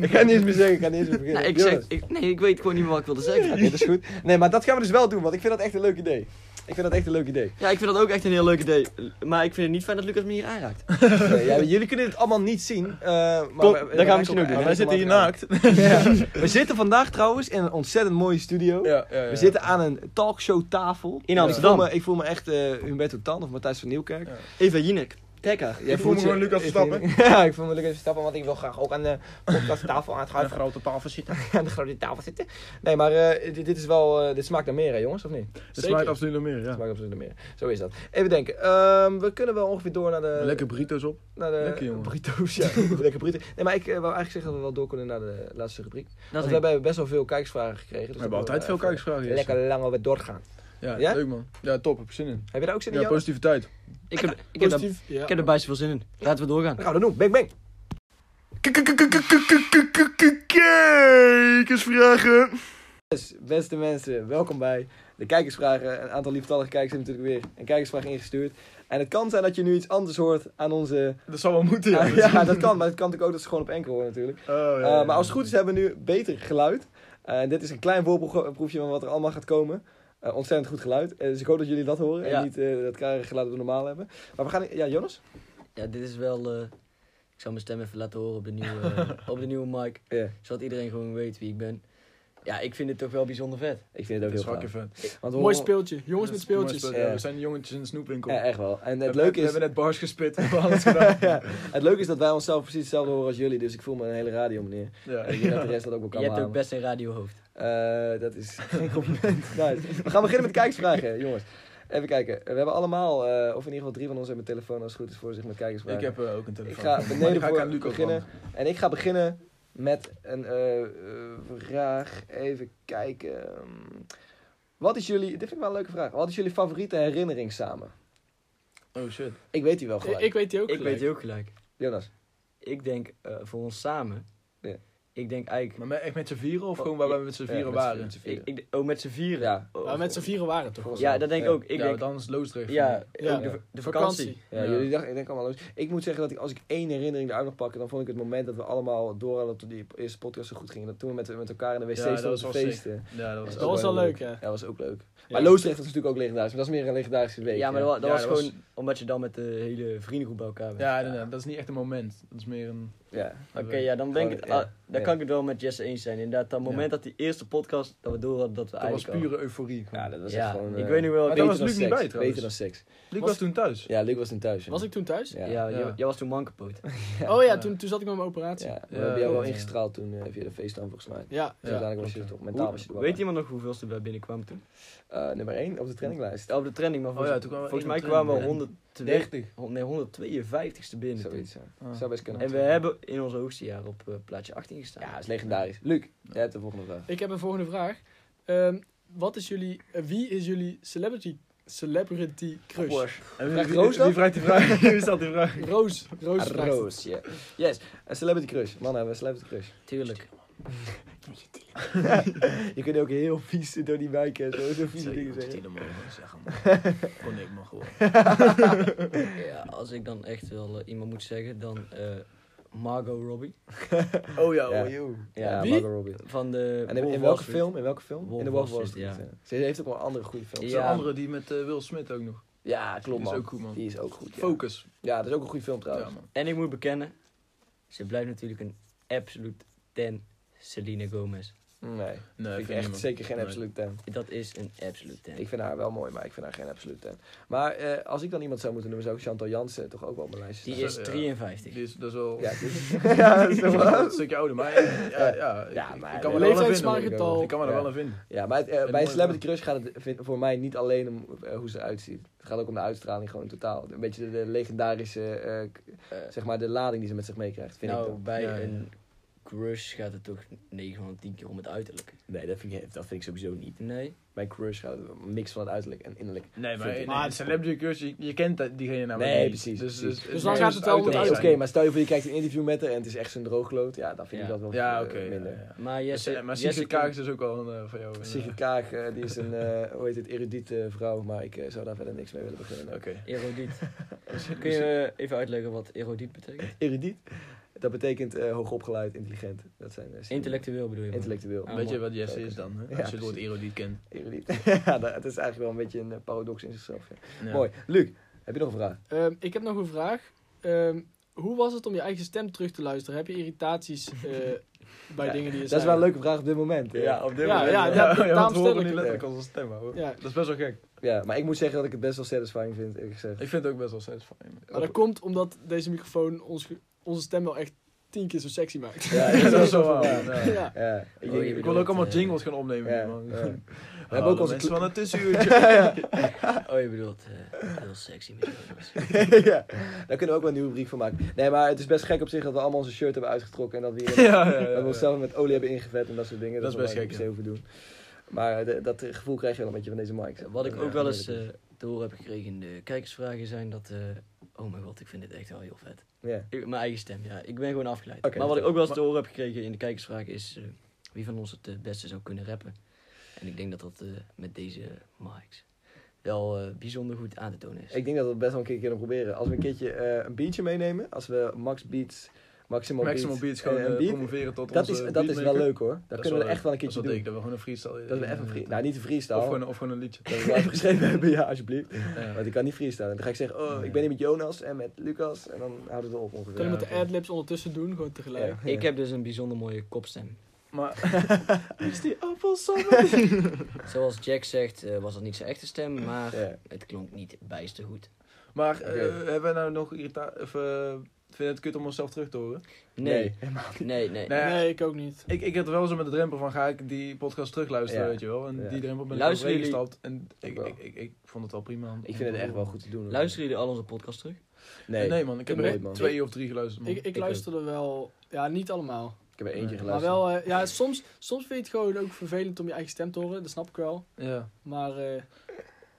Ik kan niet eens meer zeggen, ik kan niet eens meer beginnen.
Nou, ik
Jonas.
zeg, ik, nee, ik weet gewoon niet meer wat ik wilde zeggen.
Oké, dat is goed. Nee, maar dat gaan we dus wel doen, want ik vind dat echt een leuk idee. Ik vind dat echt een leuk idee.
Ja, ik vind dat ook echt een heel leuk idee. Maar ik vind het niet fijn dat Lucas me hier aanraakt.
Nee, ja, jullie kunnen dit allemaal niet zien. eh, maar
Klopt,
we-
dat gaan we misschien ook doen.
maar
Wij zitten hier
laten
naakt.
gaan. Ja. We zitten vandaag trouwens in een ontzettend mooie studio.
Ja, ja, ja.
We zitten aan een talkshowtafel.
In
Ja.
Amsterdam.
Ik voel me, ik voel me echt eh Humberto Tan of Matthijs van Nieuwkerk.
Ja.
Eva Jinek, kijk haar.
Jij
Ik voel
voelt
me
je-
gewoon Lucas
ik-
Verstappen.
ja, ik voel me Lucas Verstappen, want ik wil graag ook aan de podcasttafel aan het
Aan een
schuiven.
grote tafel zitten.
aan de grote tafel zitten. Nee, maar eh, dit, dit is wel, eh, dit smaakt naar meer hè jongens, of niet?
Het smaakt absoluut nog meer, ja.
Het smaakt absoluut naar meer. Zo is dat. Even denken, ehm, we kunnen wel ongeveer door naar de...
Lekker burritos op.
Naar de
Lekker, jongen.
burrito's, ja. Lekker burrito. Nee, maar ik eh, wou eigenlijk zeggen dat we wel door kunnen naar de laatste rubriek.
Dat
Want
is
we hebben best wel veel kijksvragen gekregen. dus
We hebben
dan
altijd veel
kunnen we
kijksvragen.
even
Jesse.
Lekker lang alweer doorgaan.
Ja,
Ja?
leuk man. Ja, top. Heb ik zin in.
Heb je daar ook zin in,
Ja,
Jan?
positiviteit.
ik, heb, ik, heb, daar-
Positief. Ja.
ik heb er bijst veel zin in. Laten we doorgaan.
Dan gaan we dat doen. Bang, bang.
Kijkersvragen.
Dus, beste mensen, welkom bij de kijkersvragen. Een aantal lieftallige kijkers hebben natuurlijk weer een kijkersvraag ingestuurd. En het kan zijn dat je nu iets anders hoort aan onze...
Dat zal wel moeten, ja.
Ja, ja dat kan. Maar het kan natuurlijk ook dat ze gewoon op enkel horen natuurlijk.
Oh, ja,
Eh,
ja.
maar als het goed is hebben we nu beter geluid. Eh, dit is een klein voorproefje van wat er allemaal gaat komen. Eh, ontzettend goed geluid. Eh, dus ik hoop dat jullie dat horen
Ja.
en niet eh, dat karige geluid dat we normaal hebben. Maar we gaan... Ja, Jonas?
Ja, dit is wel... eh, ik zal mijn stem even laten horen op de nieuwe, eh, op de nieuwe mic.
Ja.
Zodat iedereen gewoon weet wie ik ben. Ja, ik vind het toch wel bijzonder vet.
Ik vind
Dat
het
is
ook heel
fucking
gaaf.
vet.
Want we
Mooi
horen-
speeltje. Jongens
Dat
met
is een mooi
speeltjes.
spel,
Ja.
ja. We zijn de jongetjes in de snoepwinkel.
Ja, echt wel. En het
We hebben-
leuke
We
is...
hebben net bars gespit. We hebben alles gedaan.
Ja, het leuke is dat wij onszelf precies hetzelfde horen als jullie, dus ik voel me een hele radio meneer.
Ja.
En ik denk dat de rest dat ook wel kan
Je hebt ook
behamen.
best een radiohoofd.
Eh, dat is geen compliment. Nice. We gaan beginnen met kijkersvragen, jongens. Even kijken. We hebben allemaal, eh, of in ieder geval drie van ons hebben een telefoon als het goed is voor zich met kijkersvragen.
Ik heb eh, ook een telefoon.
Ik ga
Maar die
beneden
ga ik
voor
aan Luco
beginnen.
vragen.
En ik ga beginnen met een eh, eh, vraag. Even kijken. Wat is jullie, dit vind ik wel een leuke vraag. Wat is jullie favoriete herinnering samen?
Oh shit.
Ik weet die wel gelijk.
Ik, ik weet die ook
Ik
gelijk.
weet je ook gelijk.
Jonas.
Ik denk eh, voor ons samen.
Ja.
Ik denk eigenlijk...
Maar met, echt met z'n vieren of gewoon waar we Oh, met z'n
Ja,
vieren
met z'n
waren?
vieren,
Ik, ik, oh, met z'n vieren.
Ja.
Oh,
Maar met z'n vieren waren het toch?
Ja, dat denk ik
Ja.
ook. Ik
ja,
denk...
dan is Loosdrecht.
Ja,
Ja.
ook de,
Ja.
de vakantie.
Ja,
Ja.
jullie dachten, ik denk allemaal los. Ik moet zeggen dat ik, als ik één herinnering eruit mag pakken, dan vond ik het moment dat we allemaal door hadden tot die eerste podcast zo goed ging. Dat toen we met, met elkaar in de wc
Ja, dat
stonden
was
te
wel
feesten.
Ja, dat was
Dat
ook
was wel
heel
leuk, hè?
Ja, dat was ook leuk.
Ja.
Maar Loosdrecht was natuurlijk ook legendarisch, maar dat is meer een legendarische week.
Ja, maar dat, wa- dat
Ja,
was
dat was-
gewoon omdat je dan met de hele vriendengroep bij elkaar bent.
Ja, inderdaad. Dat is niet echt een moment. Dat is meer een...
Ja.
Oké, ja, dan denk ik,
Gewoon,
het-
ja.
ah, daar
Ja.
kan ik het wel met Jesse eens zijn. Inderdaad, dat moment dat die eerste podcast, dat we door hadden dat we
Dat was
eigenlijk al-
pure euforie.
Ja, dat was
ja,
echt gewoon...
ik
eh,
weet nog wel.
Maar
ik-
dat was Luc
seks.
niet bij
Beter
trouwens.
dan seks.
Luc was toen thuis.
Ja, Luc was toen thuis. hè?
Was ik toen thuis?
Ja.
ja,
Ja.
Jij, jij was toen man kapot.
Oh ja,
Ja.
toen, toen zat ik met mijn operatie.
Ja,
Ja.
we hebben jou wel
ja.
ingestraald toen eh, via de FaceTime volgens mij. Dus
ja.
uiteindelijk was je
klopt,
het op mentaal
Hoe,
was je
weet iemand nog hoeveelste wij binnenkwamen toen?
wel. nummer 1 op de traininglijst.
Ja, op de trending, maar
Oh
volgens,
ja, toen kwamen we
volgens
echt
mij
op trending.
kwamen we 102,
Ja. 30.
hond- nee, 152ste binnen toen.
Zoiets. ja.
Ah.
Zou best kunnen.
En we hebben in ons hoogste jaar op eh, plaatje 18 gestaan.
Ja, dat is legendarisch. Luc, jij hebt de volgende vraag.
Ik heb een volgende vraag. Ehm, wat is jullie, eh, wie is jullie celebrity, celebrity crush?
En wie-
Vraagt
wie-
Roos dat?
Wie vraagt die vraag? Wie stelt die vraag?
Roos. Roos. vraagt het.
Ah, Roos, ja. Yes, een celebrity crush. Mannen hebben een celebrity crush.
Tuurlijk.
Je kunt ook heel vies door die wijk en zo, zo vieze dingen zeggen.
mogen zeggen, Kon ik maar gewoon.
Ja, als ik dan echt wel eh, iemand moet zeggen, dan eh, Margot Robbie.
Oh ja,
Ja.
oh joh.
Ja,
Wie?
Margot Robbie.
Van de
En in,
Wolf
in
of Wall
welke
Street.
film? In welke film?
Wolf
in de Wolf
Wall
Wall
Street,
Street.
ja.
ja. Ze heeft ook wel andere goede films.
Zo'n
Ja.
andere die met eh, Will Smith ook nog.
Ja, klopt
Die is
man.
ook goed, man.
Die is ook goed, ja.
Focus.
Ja, dat is ook een goede film
Ja,
trouwens.
man.
En ik moet bekennen, ze blijft natuurlijk een absoluut 10 Selena Gomez.
Nee, ik
Nee,
vind
ik
echt
niet, man.
zeker geen
Nee.
absolute 10.
Dat is een absolute ten.
Ik vind haar wel mooi, maar ik vind haar geen absolute 10. Maar eh, als ik dan iemand zou moeten noemen, zou ik Chantal Jansen toch ook wel op mijn lijstje
Die
staan.
is 53.
Die is, dat is wel
Ja, dus, ja, dat is toch wel-
een stukje ouder, maar ja, ja, ja, ik-
Ja,
ik,
maar
kan me
de
er wel aan
leeftijd is
vinden.
maar
hoor.
een getal.
Ik kan me er
Ja.
wel aan vinden.
ja, maar het, eh, bij
mooie
Celebrity Crush gaat het vind- voor mij niet alleen om eh, hoe ze eruit ziet. Het gaat ook om de uitstraling gewoon totaal. Een beetje de, de legendarische, eh, k-
Eh,
zeg maar, de lading die ze met zich meekrijgt, vind ik
nou,
dan.
bij
Ja, ja.
een crush gaat het toch 9 van 10 keer om het uiterlijk.
Nee, dat vind, ik, dat vind ik sowieso niet.
Nee.
Bij Crush gaat het om niks van het uiterlijk en innerlijk.
Nee, maar,
Vind ik.
nee, maar Celebrity Crush, je, je kent dat- diegene namelijk
Nee,
niet.
precies,
Dus,
precies.
dus,
Dus dan
nee,
gaat het wel om
uiterlijk
Nee,
het
zijn.
oké, maar stel je voor je kijkt een interview met haar en het is echt zo'n droogloot. Ja, dan vind ik
Ja.
dat wel
Ja,
eh,
oké. ja,
minder.
ja, ja.
Maar Jesse,
Dus, eh, maar
Jesse
Sigrid Kaag is dus ook wel een eh, van jou. een, eh,
Sigrid Kaag, eh, die is een, eh, hoe heet het, erudite vrouw, maar ik eh, zou daar verder niks mee willen beginnen. nee.
Oké.
Erodiet. Kun je eh, even uitleggen wat erodiet betekent?
Erudiet, dat betekent eh, hoogopgeleid, intelligent. Dat zijn eh, synonymen.
Intellectueel bedoel je? maar?
Intellectueel.
Ah,
Weet je
mooi.
wat Jesse is dan? Hè?
Ja,
Als je het woord erudit kent.
Erudiet. ja, dat, het is eigenlijk wel een beetje een eh, paradox in zichzelf. ja.
Ja.
Mooi. Luc, heb je nog een vraag?
Ehm, ik heb nog een vraag. Ehm, hoe was het om je eigen stem terug te luisteren? Heb je irritaties eh, bij
Ja,
dingen die je
Dat is wel een leuke vraag op dit moment. eh.
Dus Ja, op dit
Ja,
moment.
ja,
ja,
dat-
want
daarom
we
stel
horen
ik
nu
het.
letterlijk onze stem, hoor.
Ja.
Dat is best wel gek.
Ja, maar ik moet zeggen dat ik het best wel satisfying vind, eerlijk gezegd.
Ik vind het ook best wel satisfying.
Maar dat komt omdat deze microfoon ons, ge- onze stem wel echt tien keer zo sexy maakt.
Ja,
Dat is wel zo
waar.
waar.
Ja.
ja.
Ja, ik denk-
je
Ik wil
bedoelt,
ook allemaal
eh,
jingles gaan opnemen.
ja,
man.
ja.
Hallo,
We hebben ook onze
mensen
kle-
van het tussenuurtje.
Oh, je bedoelt eh, heel sexy microfoons.
ja, daar kunnen we ook wel een nieuwe rubriek van maken. Nee, maar het is best gek op zich dat we allemaal onze shirt hebben uitgetrokken en dat we, hier,
Ja, ja, ja,
dat we
ja.
onszelf met olie hebben ingevet en dat soort dingen.
Dat is best
we daar
gek,
niet per se hoeven doen. Maar eh, de- dat gevoel krijg je wel een beetje van deze mics.
Wat ik
Ja,
ook wel eens
ja, dat is-
eh, te horen heb gekregen in de kijkersvragen zijn dat... eh, oh mijn god, ik vind dit echt wel heel vet.
Ja.
Ik- mijn eigen stem, ja. Ik ben gewoon afgeleid.
Oké,
maar wat ik
vertel.
ook wel eens te horen heb gekregen in de kijkersvragen is... eh, wie van ons het eh, beste zou kunnen rappen. En ik denk dat dat eh, met deze mics wel eh, bijzonder goed aan te tonen is.
Ik denk dat we het best wel een keer kunnen proberen. Als we een keertje eh, een beatje meenemen, als we Max Beats, Maximal,
Maximal Beats gewoon
en een
eh,
beat,
promoveren tot
dat,
onze
is, dat is wel
beatmaker.
leuk hoor. Dat
is
kunnen we er echt wel een
Dat is
keertje
wel
doen.
dik, dat we gewoon een freestyle...
Dat we even een free- Nou, niet een freestyle.
Of gewoon, of gewoon een liedje.
Dat we wel even geschreven hebben, ja, alsjeblieft.
Ja.
Want ik kan niet freestylen. Dan ga ik zeggen, oh, ik ben hier met Jonas en met Lucas. En dan houdt het op ongeveer.
Kun je
Ja,
met de
oké.
adlibs ondertussen doen, gewoon tegelijk.
Ja.
Ik heb dus een bijzonder mooie kopstem.
Maar
Is die appelsap?
Zoals Jack zegt, eh, was dat niet zijn echte stem, maar
Ja.
het klonk niet bijster goed.
maar
Oké.
eh, hebben wij nou nog irrita... Of, eh, vind je het kut om onszelf terug te horen?
Nee,
helemaal niet.
nee, nee.
Nee.
Nee, ik ook niet.
Ik, ik heb er wel zo met de drempel van, ga ik die podcast terugluisteren,
Ja.
weet je wel? En
Ja.
die drempel ben ik
Luisteren
overheen
jullie-
gestapt. En ik,
wel.
ik, ik, ik vond het wel prima. om-
Ik vind het echt wel goed te doen. hoor.
Luisteren jullie al onze podcast terug?
Nee,
Nee, man, ik heb er
nooit,
echt
man.
twee of drie
Mm,
geluisterd, man.
Ik, ik luisterde wel, ja, niet allemaal.
Ik heb er eentje
Nee.
Maar
geluisterd.
wel, eh, ja, soms, soms vind je het gewoon ook vervelend om je eigen stem te horen, dat snap ik wel.
Ja,
Maar eh,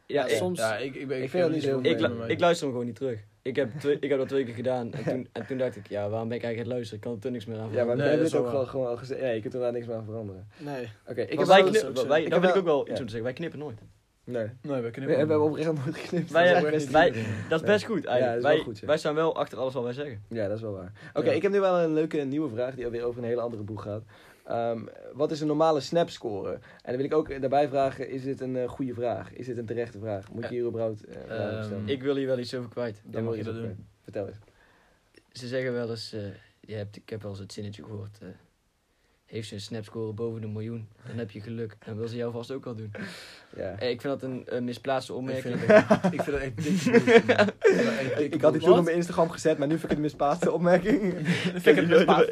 Ja,
Ja,
ik,
soms-
ja ik, ik, ben,
Ik vind
heb
dat
er
niet zo
zoveel
ik,
heel
lu-
mee.
ik luister hem gewoon niet terug. Ik heb, twee, ik heb dat twee keer gedaan en toen, en toen dacht ik, ja, waarom ben ik eigenlijk aan het luisteren? Ik kan er toen niks meer aan
Ja, maar
veranderen.
we
Nee,
hebben
dat
het
is
ook
wel
gewoon, gewoon al gezegd. Ja, je kunt er daar niks meer aan veranderen.
nee.
Oké, ik
Want
heb
wij
wel-
knippen-
zo.
wij,
Ik
daar
heb
wil ik ook wel
ja.
iets om te zeggen. Wij knippen nooit.
Nee,
Nee, we
we,
knippen
we hebben
hem.
oprecht nooit geknipt.
Wij,
dat is echt
wij,
niet
dat is best
Ja,
goed
dat
eigenlijk.
is wel
wij,
goed, ja.
wij staan wel achter alles wat wij zeggen.
Ja, dat is wel waar. Oké,
Ja.
ik heb nu wel een leuke nieuwe vraag die alweer over een hele andere boeg gaat. Ehm, wat is een normale snapscore? En dan wil ik ook daarbij vragen, is dit een eh, goede vraag? Is dit een terechte vraag? Moet je
Eh,
hier überhaupt eh vragen
ehm,
stellen?
Hm.
Ik wil hier wel iets over kwijt.
Dan
dan
wil
mag je
eens
dat
opnemen. Vertel eens.
Ze zeggen wel eens, eh, je hebt, ik heb wel eens het zinnetje gehoord. eh, heeft ze een snapscore boven de miljoen, dan heb je geluk. Dan wil ze jou vast ook wel doen.
Ja.
Eh, ik vind dat een, een misplaatste
Ik vind
opmerking.
het echt- ik vind het echt dik. bullshit, man. Ik vind het echt
Ik,
dikke
ik had dit
bullshit.
toen op mijn Instagram gezet, maar nu vind ik het een misplaatste opmerking.
Ik vind het misplaatst.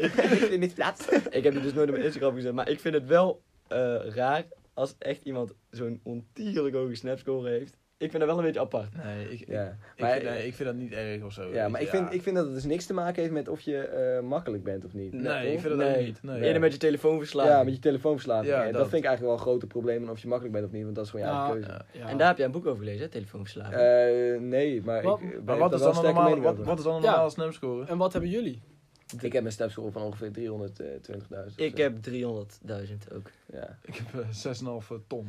het misplaatst.
Ik heb het dus nooit op mijn Instagram gezet, maar ik vind het wel eh, raar als echt iemand zo'n ontierlijk hoge snapscore heeft. Ik vind dat wel een beetje apart.
Nee, ik, ik,
Ja,
ik,
maar,
vind, nee, ik vind dat niet erg of zo.
ja, maar ik, Vind, ik vind dat het dus niks te maken heeft met of je eh, makkelijk bent of niet.
Nee, ik vind dat
Nee.
ook niet. Nee.
Eerder met je telefoon verslaan.
Ja, met je telefoon verslaan.
Ja,
Ja, dat.
dat.
vind ik eigenlijk wel een groter probleem dan of je makkelijk bent of niet, want dat is gewoon je
Ja.
eigen keuze.
Ja.
Ja.
En daar heb jij een boek over gelezen, hè? telefoon verslaan.
Eh, nee, maar
Wat-
ik eh, ben
Maar
daar
wat
wel een
is, dan een
sterke
normale,
mening
wat,
over.
wat is dan een
Ja.
normale snapscore?
En wat hebben jullie?
Ik heb mijn stapscore van ongeveer 320.000.
ik
of
heb 300.000 ook.
zo. Ja,
Ik heb eh, 6,5 ton.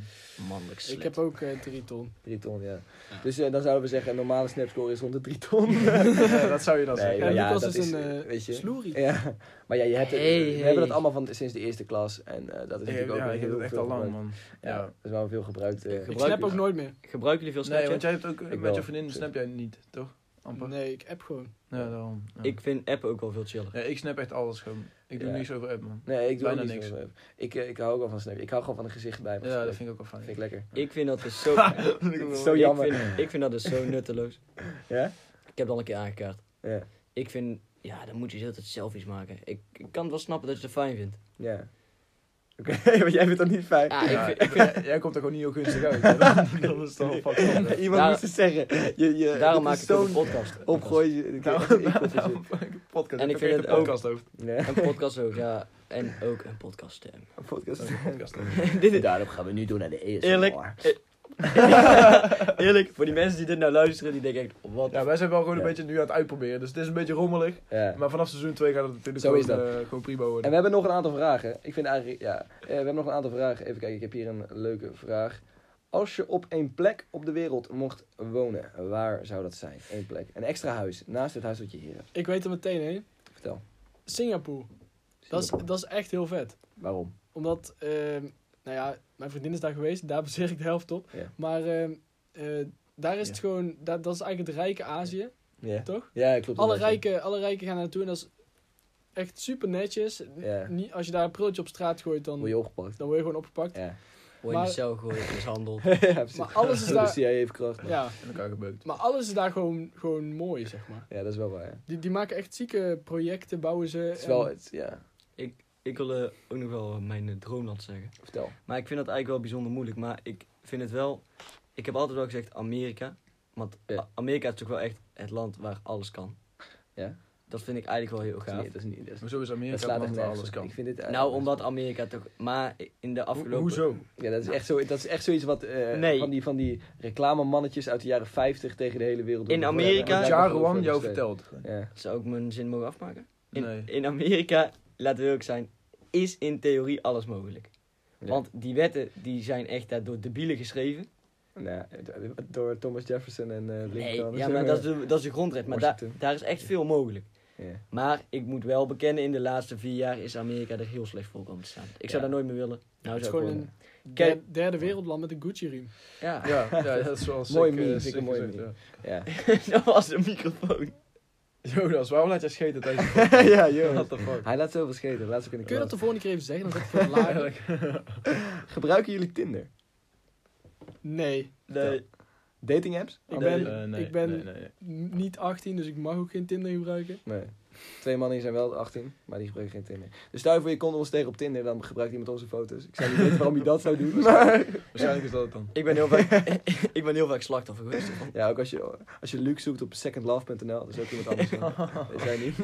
Mannelijk slet.
Ik heb ook eh drie ton.
3 ton, ja. Dus eh, dan zouden we zeggen, een normale snapscore is rond de 3 ton.
Ja, dat zou je dan
Nee,
Ja,
zeggen.
ja,
Lucas
dat
is
is,
een,
eh,
eh,
weet je.
Sloerie.
Ja, maar ja, je hebt het,
Hey,
we
hey.
hebben dat allemaal van, sinds de eerste klas. En eh, dat is
Ik heb-
natuurlijk ook
ja,
weer
ik heb
heel
het echt
veel
al lang,
gebruikt.
man.
Ja,
Ja.
dat is wel veel gebruikt. eh,
Ik
Ik
gebruik
snap
je.
ook nooit meer.
Gebruiken jullie veel
Nee,
Snapchat?
want jij hebt ook, met
wel.
je vriendin snap jij niet, toch? Amper.
Nee, ik app gewoon.
Ja, daarom. Ja.
Ik vind app ook wel veel chiller.
Ja, ik snap echt alles gewoon. Ik doe
Ja.
niks over app, man.
Nee, ik doe
Bijna
ook niet
niks.
zoveel. Ik, eh, ik hou ook wel van Snap. Ik hou gewoon van een gezicht bij me.
Ja, dat
vind
vind ik ook wel fijn.
ik, lekker.
Ik vind dat dus zo...
Dat is
ik
zo jammer.
Vind, ik vind dat dus zo nutteloos.
Ja?
Ik heb het al een keer aangekaart.
Ja.
Ik vind... Ja, dan moet je de hele tijd selfies maken. Ik, ik kan wel snappen dat je het fijn vindt.
Ja. Oké, maar jij vindt dat niet fijn.
Ja, ik vind, ik vind-
Jij komt er gewoon niet heel gunstig uit. hè. Dat- Dat is toch wel fucked up.
Iemand
Daar-
moest het zeggen. Je, je,
daarom
dit
maak
is
ik ook een
zo'n
podcast.
Opgooi. Ik- ik-
Daarom-
ik- ik-
daarom maak ik een podcast.
En
Ik
ik
heb
vind
echt
het
een
ook-
podcast over.
Ja,
Een podcast ook, ja. En ook een podcaststem.
een podcast.
Een podcast over.
Daarom gaan we nu door naar de eerste.
Eerlijk.
eh,
Eerlijk, voor die mensen die dit nou luisteren, die denken echt, wat?
Ja, wij zijn wel gewoon een
Ja.
beetje nu aan het uitproberen. Dus het is een beetje rommelig.
Ja.
Maar vanaf seizoen 2 gaat het natuurlijk
Zo is
gewoon, eh, gewoon prima
En
worden.
we hebben nog een aantal vragen. Ik vind eigenlijk, ja, eh, we hebben nog een aantal vragen. Even kijken, ik heb hier een leuke vraag. Als je op één plek op de wereld mocht wonen, waar zou dat zijn? Eén plek. Een extra huis, naast het huis dat je hier hebt.
Ik weet er meteen heen.
Vertel.
Singapore. Dat is, dat is echt heel vet.
Waarom?
Omdat, ehm, nou ja, mijn vriendin is daar geweest, daar baseer ik de helft op.
Ja.
Maar ehm, eh, daar is het
Ja.
gewoon, daar, dat is eigenlijk het rijke Azië,
Ja,
toch?
ja klopt.
Alle
inderdaad,
rijken, alle rijken gaan daar naartoe en dat is echt super netjes. N-
Ja.
Niet, als je daar een prultje op straat gooit,
ja.
dan,
Word je opgepakt.
dan word je gewoon opgepakt.
Ja.
Word je in
Maar-
de cel gegooid, mishandeld.
ja, precies. Dus
Maar alles is
Door
daar-
De CIA heeft kracht.
Ja,
In elkaar gebeukt.
maar alles is daar gewoon, gewoon mooi, zeg maar.
Ja, dat is wel waar. ja.
Die, die maken echt zieke projecten, bouwen ze.
Het is wel,
en-
het, ja,
Ik, ik wil eh, ook nog wel mijn eh, droomland zeggen.
vertel.
Maar ik vind dat eigenlijk wel bijzonder moeilijk. Maar ik vind het wel... Ik heb altijd wel gezegd Amerika. Want
Ja.
A- Amerika is natuurlijk wel echt het land waar alles kan.
Ja.
Dat vind ik eigenlijk wel heel
Dat is
gaaf.
niet, dat is niet, dat is-
Maar Dus zo is
dat
Amerika
slaat
het
echt
land waar
nergens
alles
op.
kan.
Ik vind dit eigenlijk-
Nou, omdat Amerika toch... Maar in de afgelopen...
Ho- Hoezo?
Ja, dat is echt, zo, dat is echt zoiets wat eh,
Nee.
van, die, van die reclamemannetjes uit de jaren 50 tegen de hele wereld.
In
doen.
Amerika-
Ja,
Wat
Wat Jaroan jou vertelt.
Ja.
Zou ik mijn zin mogen afmaken? In,
Nee.
in Amerika, laten we eerlijk zijn, is in theorie alles mogelijk.
Ja.
Want die wetten die zijn echt daar door debielen geschreven.
Nou, eh, door Thomas Jefferson en eh
Nee,
Lincoln.
ja, maar dat is dus- de, dat is de grondwet. Maar daar
Washington.
daar is echt veel mogelijk.
Ja.
Maar ik moet wel bekennen, in de laatste vier jaar is Amerika er heel slecht voor komen te staan. Ik zou
Ja.
daar nooit meer willen. Nou,
het is
zou ik
gewoon
gewoon...
een
Kijk-
der- derde wereldland met een Gucci-riem.
Ja,
Ja, ja, dat is wel sick,
Mooi
eh,
meme, vind
sick
ik een mooi
gezegd,
meme.
ja.
Ja.
dat was de microfoon.
Jonas, waarom laat jij scheten tijdens
ja, joh.
What the fuck?
Hij laat zoveel scheten. Laat ze ook in de
Kun je dat
klas.
de volgende keer even zeggen? Dan zet ik het lager.
Gebruiken jullie Tinder?
Nee,
Nee.
Dating apps?
ik
Oh,
ben,
nee, nee,
ik ben
nee, nee, nee.
n- niet 18, dus ik mag ook geen Tinder gebruiken.
Nee. Twee mannen hier zijn wel 18, maar die gebruiken geen Tinder. Dus stel je voor je komt ons tegen op Tinder, dan gebruikt iemand onze foto's. Ik zou niet weten waarom je dat zou doen. maar-
Waarschijnlijk is dat het dan.
Ik ben heel vaak, ik ben heel vaak slachtoffer geweest.
Ja, ook als je, als je Luke zoekt op secondlove.nl, dat is ook iemand anders. dan. Dat zijn niet.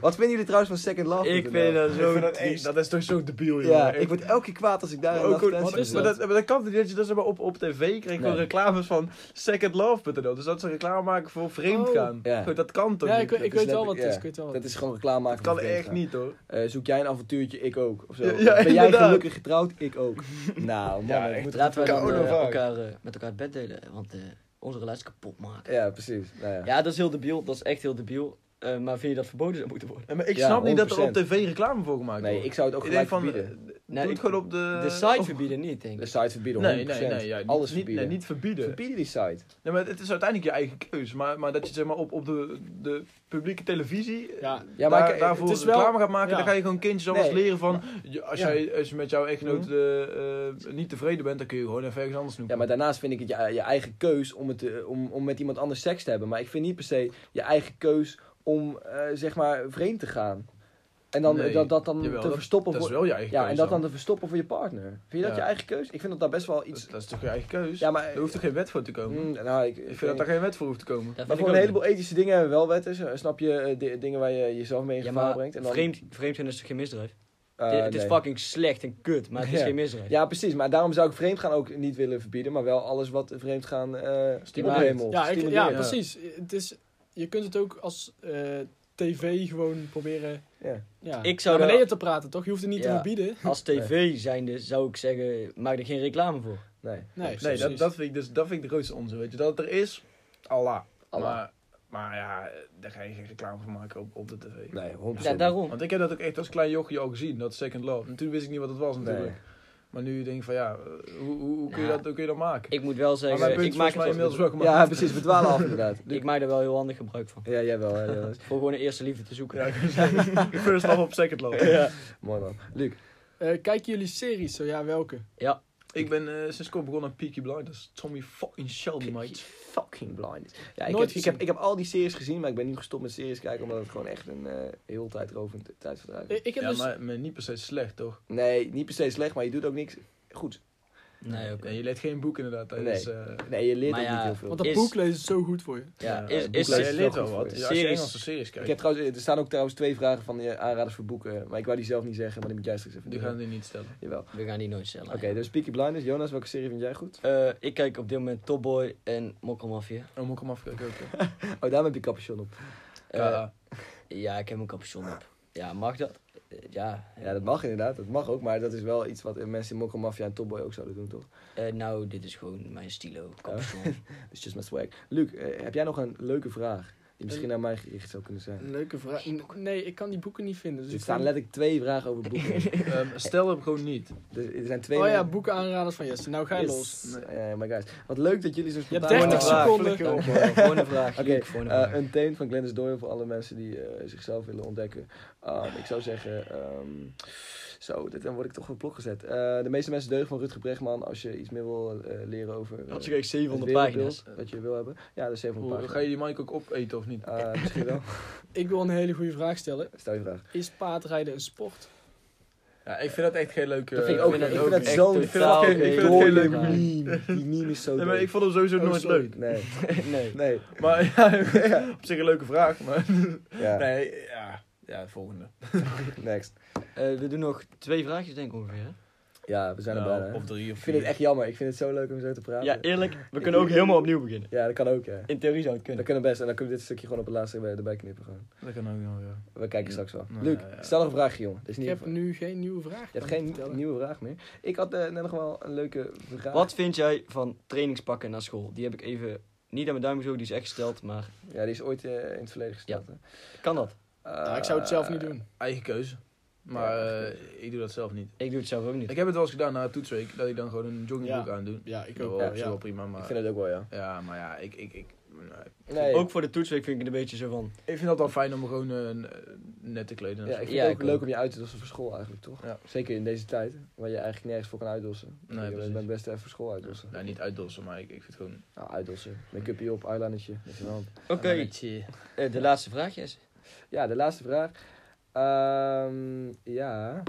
Wat vinden jullie trouwens van secondlove.nl?
Ik vind dat
Ik vind
zo
dat, echt-
triest.
dat is toch zo debiel, joh.
Ja, ik word elke keer kwaad als ik daar
Maar
een
ook gewoon-
advertentie
wat is
voor
dat? Maar dat, maar dat kan niet, dat je dat zeg maar op, op tv kreeg gewoon
Nee.
reclames van secondlove.nl. Dus dat ze reclame maken voor vreemd gaan.
Oh. Ja.
Goed, Dat kan toch
Ja,
niet?
ik, ik
is
weet wel
letterlijk-
wat het is.
ja.
Ik weet wel wat
Dat
het
is gewoon reclame maken.
dat kan
voor de
echt
Telegraaf.
niet, hoor.
Eh, zoek jij een avontuurtje? Ik ook. Of zo.
Ja, ja,
ben jij
inderdaad.
gelukkig getrouwd? Ik ook. Nou, man,
Ja,
ik moet
Laten we
kan
dan,
ook nog
eh,
vaak.
elkaar, eh, met elkaar het bed delen, want eh, onze relatie kapot maken.
Ja, precies. Nou, ja.
Ja, dat is heel debiel. Dat is echt heel debiel. Eh, maar vind je dat verboden zou moeten worden?
Ja, maar ik
Ja,
snap niet dat er op
100%.
tv reclame voor gemaakt
Nee,
wordt.
ik zou het ook
Ik denk
gelijk
van,
verbieden.
eh,
Nee,
doe
ik-
het gewoon op de...
De site verbieden niet, denk
De
ik.
site verbieden, 100%.
Nee, nee, nee. ja, niet-
Alles
niet,
verbieden.
Nee, niet verbieden.
Verbieden die site.
Nee, maar het is uiteindelijk je eigen keus. Maar, maar dat je zeg maar, op, op de, de publieke televisie eh,
Ja.
Ja, maar
daar,
kijk,
daarvoor
het is wel-
reclame gaat maken,
ja.
dan ga je gewoon kindjes alvast
Nee.
leren van... je- Als,
Ja. Mhm.
jij, als je met jouw echtgenoot eh, eh, niet tevreden bent, dan kun je gewoon even ergens anders
Ja,
snoepen.
maar daarnaast vind ik het je, je eigen keus om, het, eh, om, om met iemand anders seks te hebben. Maar ik vind niet per se je eigen keus om, eh, zeg maar, vreemd te gaan. En dan,
Nee,
dat, dat dan
jawel,
te
dat-
verstoppen
dat is
voor...
wel je eigen
Ja,
keus
en dat dan te verstoppen voor je partner. Vind je dat
Ja.
je eigen keus? Ik vind dat daar best wel
Dat,
iets...
dat is toch je eigen keus?
Ja, maar-
Er hoeft er geen wet voor te komen.
Mm, nou, ik,
Ik vind dat daar geen wet voor hoeft te komen.
Dat
Maar
vind ik
voor een
ook
heleboel ethische dingen hebben we wel wetten. zo- Snap je eh, di- dingen waar je jezelf mee in
niet. Ja,
gevaar
maar
brengt? En dan,
vreemd, vreemd zijn is toch geen misdrijf?
eh,
Dit- het is
nee.
fucking slecht en kut, maar het is
Ja.
geen misdrijf.
Ja, precies. Maar daarom zou ik vreemd gaan ook niet willen verbieden. Maar wel alles wat vreemd gaan eh
Stimuleert.
ophemelt,
Ja, ik, ja,
stimuleert.
precies. Het is, je kunt het ook als eh, tv gewoon proberen
Ja.
ja,
Ik zou
naar
wel-
beneden te praten, toch? Je hoeft het niet te
Ja.
verbieden.
Als tv zijnde zou ik zeggen, maak er geen reclame voor.
Nee.
Nee,
Nee,
precies.
dat, dat, vind ik dus, dat vind ik de grootste onzin. Weet je, dat het er is, Allah.
Allah.
Maar, maar ja, daar ga je geen reclame voor maken op, op de tv.
Nee, 100%.
Ja, daarom.
Want ik heb dat ook echt als klein jochie al gezien, dat Second Love. En toen wist ik niet wat het was
Nee.
natuurlijk. Maar nu denk ik van ja, eh, hoe, hoe, hoe kun, je
Ja.
dat, hoe kun je dat maken?
Ik moet wel
maar mijn
zeggen,
punt
ik
is
maak,
volgens mij
het,
inmiddels wel gemaakt.
Ja, precies. We dwalen af inderdaad.
ik maak er wel heel handig gebruik van.
Ja, jij wel. Hè, Jonas.
Voor gewoon een eerste liefde te zoeken.
Ja, ik wou zeggen, First love op second love.
Mooi man. Luc.
Eh, kijken jullie series? Zo ja, welke?
Ik ben eh, sinds kort begonnen aan Peaky Blinders. Tommy fucking Shelby, mate.
Fucking blind. Ja, ik,
Nooit
heb, ik,
gezien.
heb, ik heb al die series gezien, maar ik ben niet gestopt met series kijken, omdat het gewoon echt een eh, heel tijdrovend tijdsverdrijf is.
Eh, ik heb
Ja,
dus...
maar, maar niet per se slecht, toch?
Nee, niet per se slecht, maar je doet ook niks goed.
Nee, oké.
Ja, je leest geen boek inderdaad.
Nee.
tijdens, eh,
Nee, je leert
Maar
ook
ja,
niet heel veel.
Want dat
Is-
boek lezen is zo goed voor je.
Ja,
is-
eh,
is-
Ja,
boeklezen
je
is-
wel
leert
goed
wel
voor
wat.
je.
Ja, als je
Series.
Engelse series
Ik
kijkt,
heb trouwens, er staan ook trouwens twee vragen van je aanraders voor boeken, maar ik wou die zelf niet zeggen, maar die moet jij straks even
die
doen.
gaan die niet stellen.
Jawel.
We gaan die nooit stellen.
Oké, dus Peaky Blinders. Jonas, welke serie vind jij goed?
Eh, ik kijk op dit moment Top Boy en Mokkelmafia.
Oh, moet ik hem afkijken ook. hè?
Oh, daarom heb je capuchon op.
Eh,
Ja.
ja, ik heb mijn capuchon op. Ja, mag dat? Eh, ja.
Ja, dat mag inderdaad. Dat mag ook, maar dat is wel iets wat eh, mensen in Mokko Mafia en Topboy ook zouden doen, toch?
Eh, nou, dit is gewoon mijn stilo capuchon.
It's just my swag. Luc, eh, heb jij nog een leuke vraag die misschien
Eh,
naar mij gericht zou kunnen zijn?
Een leuke vraag. Nee, ik kan die boeken niet vinden.
Dus
Dus
er
ik
staan
kan-
letterlijk twee vragen over boeken. in.
Ehm, stel hem gewoon niet.
dus er zijn twee
Oh ja,
vragen.
boeken aanraders van Jesse. Nou ga je
Yes.
los.
Eh, my guys. Wat leuk dat jullie zo
Je hebt
spontaan...
30
Gewoon een vraag.
seconden.
Dankjewel. Volgende vraag.
Oké,
Luc, volgende vraag.
eh, een teen van Glennis Doyle voor alle mensen die eh, zichzelf willen ontdekken. Um, ik zou zeggen, ehm, zo, dit, dan word ik toch op het blok gezet. Eh, de meeste mensen deugen van Rutger Bregman als je iets meer wil eh, leren over. eh,
Had je kijk
het
700
wereldbeeld
pagina's.
Dat je wil hebben. Ja, dat is 700
Hoe,
pagina's.
ga je die mic ook opeten of niet?
Eh, misschien wel.
Ik wil een hele goede vraag stellen.
Stel je vraag.
Is paardrijden een sport?
Ja, ik vind dat echt geen leuke...
Dat vind ik
ook- Eh,
ook,
ik vind
ook
dat
echt
zo'n
totaal
verhaal. Ik vind het
geen
geen
Dooie
leuke
vraag.
meme. Die meme is zo
Nee, maar
dood.
ik vond hem sowieso
Oh,
nooit
sorry.
leuk.
Nee,
eh,
Nee.
nee.
Maar ja, op zich een leuke vraag. Maar
Ja,
nee, ja. Ja, volgende.
next.
Eh, we doen nog twee vraagjes denk ik ongeveer. hè?
Ja, we zijn er
Nou,
bijna.
of drie of
Ik vind het
vier.
echt jammer. Ik vind het zo leuk om zo te praten.
Ja, eerlijk. We kunnen ook helemaal opnieuw beginnen.
Ja, dat kan ook, hè.
In theorie zou het kunnen.
Dat kunnen we best. En dan kunnen we dit stukje gewoon op het laatste erbij erbij knippen. Gewoon.
Dat kan ook nog, ja.
We kijken straks wel.
Nou,
Luc,
ja, ja.
stel nog een vraagje, jongen. Dat is
Ik
niet
heb nu geen nieuwe vraag.
Je hebt
kan ik
geen
vertellen.
nieuwe vraag meer. Ik had eh, net nog wel een leuke vraag.
Wat vind jij van trainingspakken naar school? Die heb ik even niet aan mijn duim gezogen, die is echt gesteld, maar
Ja, die is ooit eh, in het verleden gesteld. hè. Eh,
kan dat?
Nou, ik zou het zelf niet doen.
Eigen keuze. Maar
Ja,
eh,
eigen
ik doe dat zelf niet.
Ik doe het zelf ook niet.
Ik heb het wel eens gedaan na toetsweek, dat ik dan gewoon een joggingbroek
Ja.
aandoe.
Ja, ik
Dat
ook.
wel,
wel,
op zich
ja.
wel prima,
Ik
maar...
vind het ook wel, ja.
Ja, maar ja, ik... ik, ik nee.
Nee,
Ook voor de toetsweek vind ik het een beetje zo van.
Ik vind dat wel fijn om me gewoon eh, net te kleden. en
ja,
zo.
ik vind
Ja,
het ook
ik
leuk
ook.
om je uit te dossen voor school eigenlijk, toch?
Ja.
Zeker in deze tijd, waar je eigenlijk nergens voor kan uitdossen.
Nee,
je
precies.
bent best even voor school uitdossen.
Nou, niet uitdossen, maar ik, ik vind gewoon...
Nou, uitdossen. Make-upje op, eyelinertje. Dat is wel.
Oké, eh, de laatste vraag, Jesse.
Ja, de laatste vraag. Ehm, ja.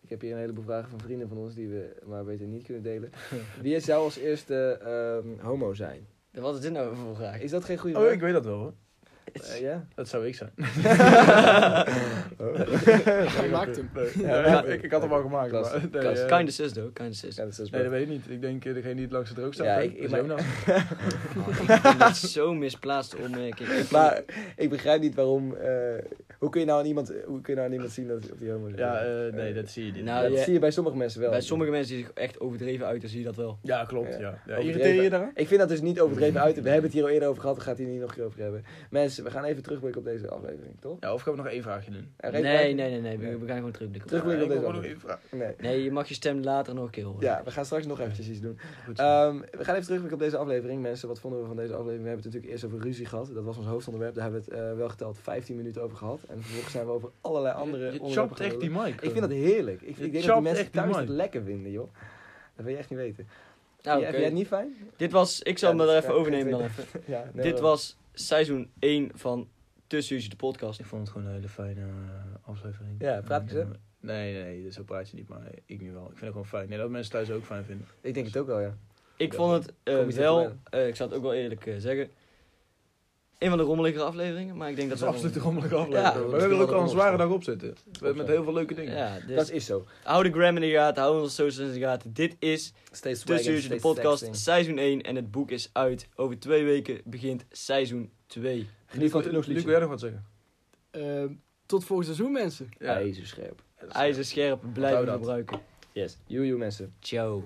Ik heb hier een heleboel vragen van vrienden van ons die we maar beter niet kunnen delen. Wie zou als eerste ehm, homo zijn?
Wat is dit nou voor vraag?
Is dat geen goede vraag?
Oh, ik weet dat wel hoor.
Eh, ja?
Dat zou ik zijn.
Hij maakt hem.
Ja,
ja.
ik, ik had hem al gemaakt.
Klasse,
Maar, nee,
klasse.
eh,
Kinda sis, though. Kinda sis.
Ja, dat is dus
nee, dat weet ik niet. Ik denk eh, degene die het langs de droog staat.
Ja,
hè,
ik- ik-
is
maar-
Jonas.
Oh, Ik vind dat zo misplaatst opmerking. Ik-
Maar ik begrijp niet waarom. eh, hoe, kun je nou aan iemand, hoe kun je nou aan iemand zien dat of die homo is?
Ja, eh, nee, dat zie je niet.
Nou,
dat
ja,
zie je bij sommige mensen wel.
bij sommige mensen die zich echt overdreven uiten, zie je dat wel.
ja, klopt. Ja. Ja.
Overdreven.
irriteer je daaraan?
Ik vind dat dus niet overdreven uit. We hebben het hier al eerder over gehad, we gaan het hier niet nog een keer over hebben. Mensen, we gaan even terugblikken op deze aflevering, toch?
Ja, of gaan we nog één vraagje doen?
Er
Nee,
even-
nee, nee, nee. We,
Nee.
we gaan gewoon terugblikken.
Terug- Terugblikken op
Ja, ik
deze
wil nog
aflevering.
één vraag.
Nee.
Nee, je mag je stem later nog een keer horen.
Ja, we gaan straks nog eventjes iets doen.
Goed Eh, zo.
Ehm, we gaan even terugblikken op deze aflevering. Mensen, wat vonden we van deze aflevering? We hebben het natuurlijk eerst over ruzie gehad. Dat was ons hoofdonderwerp. Daar hebben we het eh, wel geteld 15 minuten over gehad. En vervolgens zijn we over allerlei andere
je
onderwerpen
chopt
gaan
echt die mic.
Ik vind dat heerlijk. Ik,
Je
ik denk dat
chopt
die mensen
echt die
thuis
mic.
het lekker vinden, joh. Dat wil je echt niet weten. Vind jij-
Nou, oké.
vind jij het niet fijn?
Dit was, ik zal
Ja,
hem
dat
er
is-
even
ja,
overnemen
geen
dan even.
Ja, nee,
Dit
wel.
was seizoen 1 van Tussen de podcast.
Ik vond het gewoon een hele fijne eh, aflevering.
Ja, praat
ik
eens, hè?
Nee, nee, nee, zo praat je niet, maar ik nu wel. Ik vind het gewoon fijn. Nee, dat mensen thuis ook fijn vinden.
Ik denk het ook wel, ja.
Ik vond het eh,
Kom je
wel,
tegen
eh, ik zal het ook wel eerlijk eh, zeggen, een van de rommeligere afleveringen, maar ik denk
Dat
dat
is absoluut een rommelige aflevering.
Ja,
maar we
dat
hebben er
is
ook al een
wel
zware
een
dag op zitten. We- Met heel veel leuke dingen.
Ja, dus
Dat is zo.
hou de gram in de gaten, hou onze socials in de gaten. Dit is
Steeds
Tussen
swagger,
Uurtje, de
steeds
podcast,
sexting.
seizoen 1 en het boek is uit. Over twee weken begint seizoen 2.
Geniet van het
Luc, wil
Unox-liedje.
jij nog wat zeggen?
Ehm, tot volgend seizoen, mensen.
Ja.
Jezus, scherp.
IJzer scherp, blijven
dat.
gebruiken.
Yes. Joe, joe, mensen.
Ciao.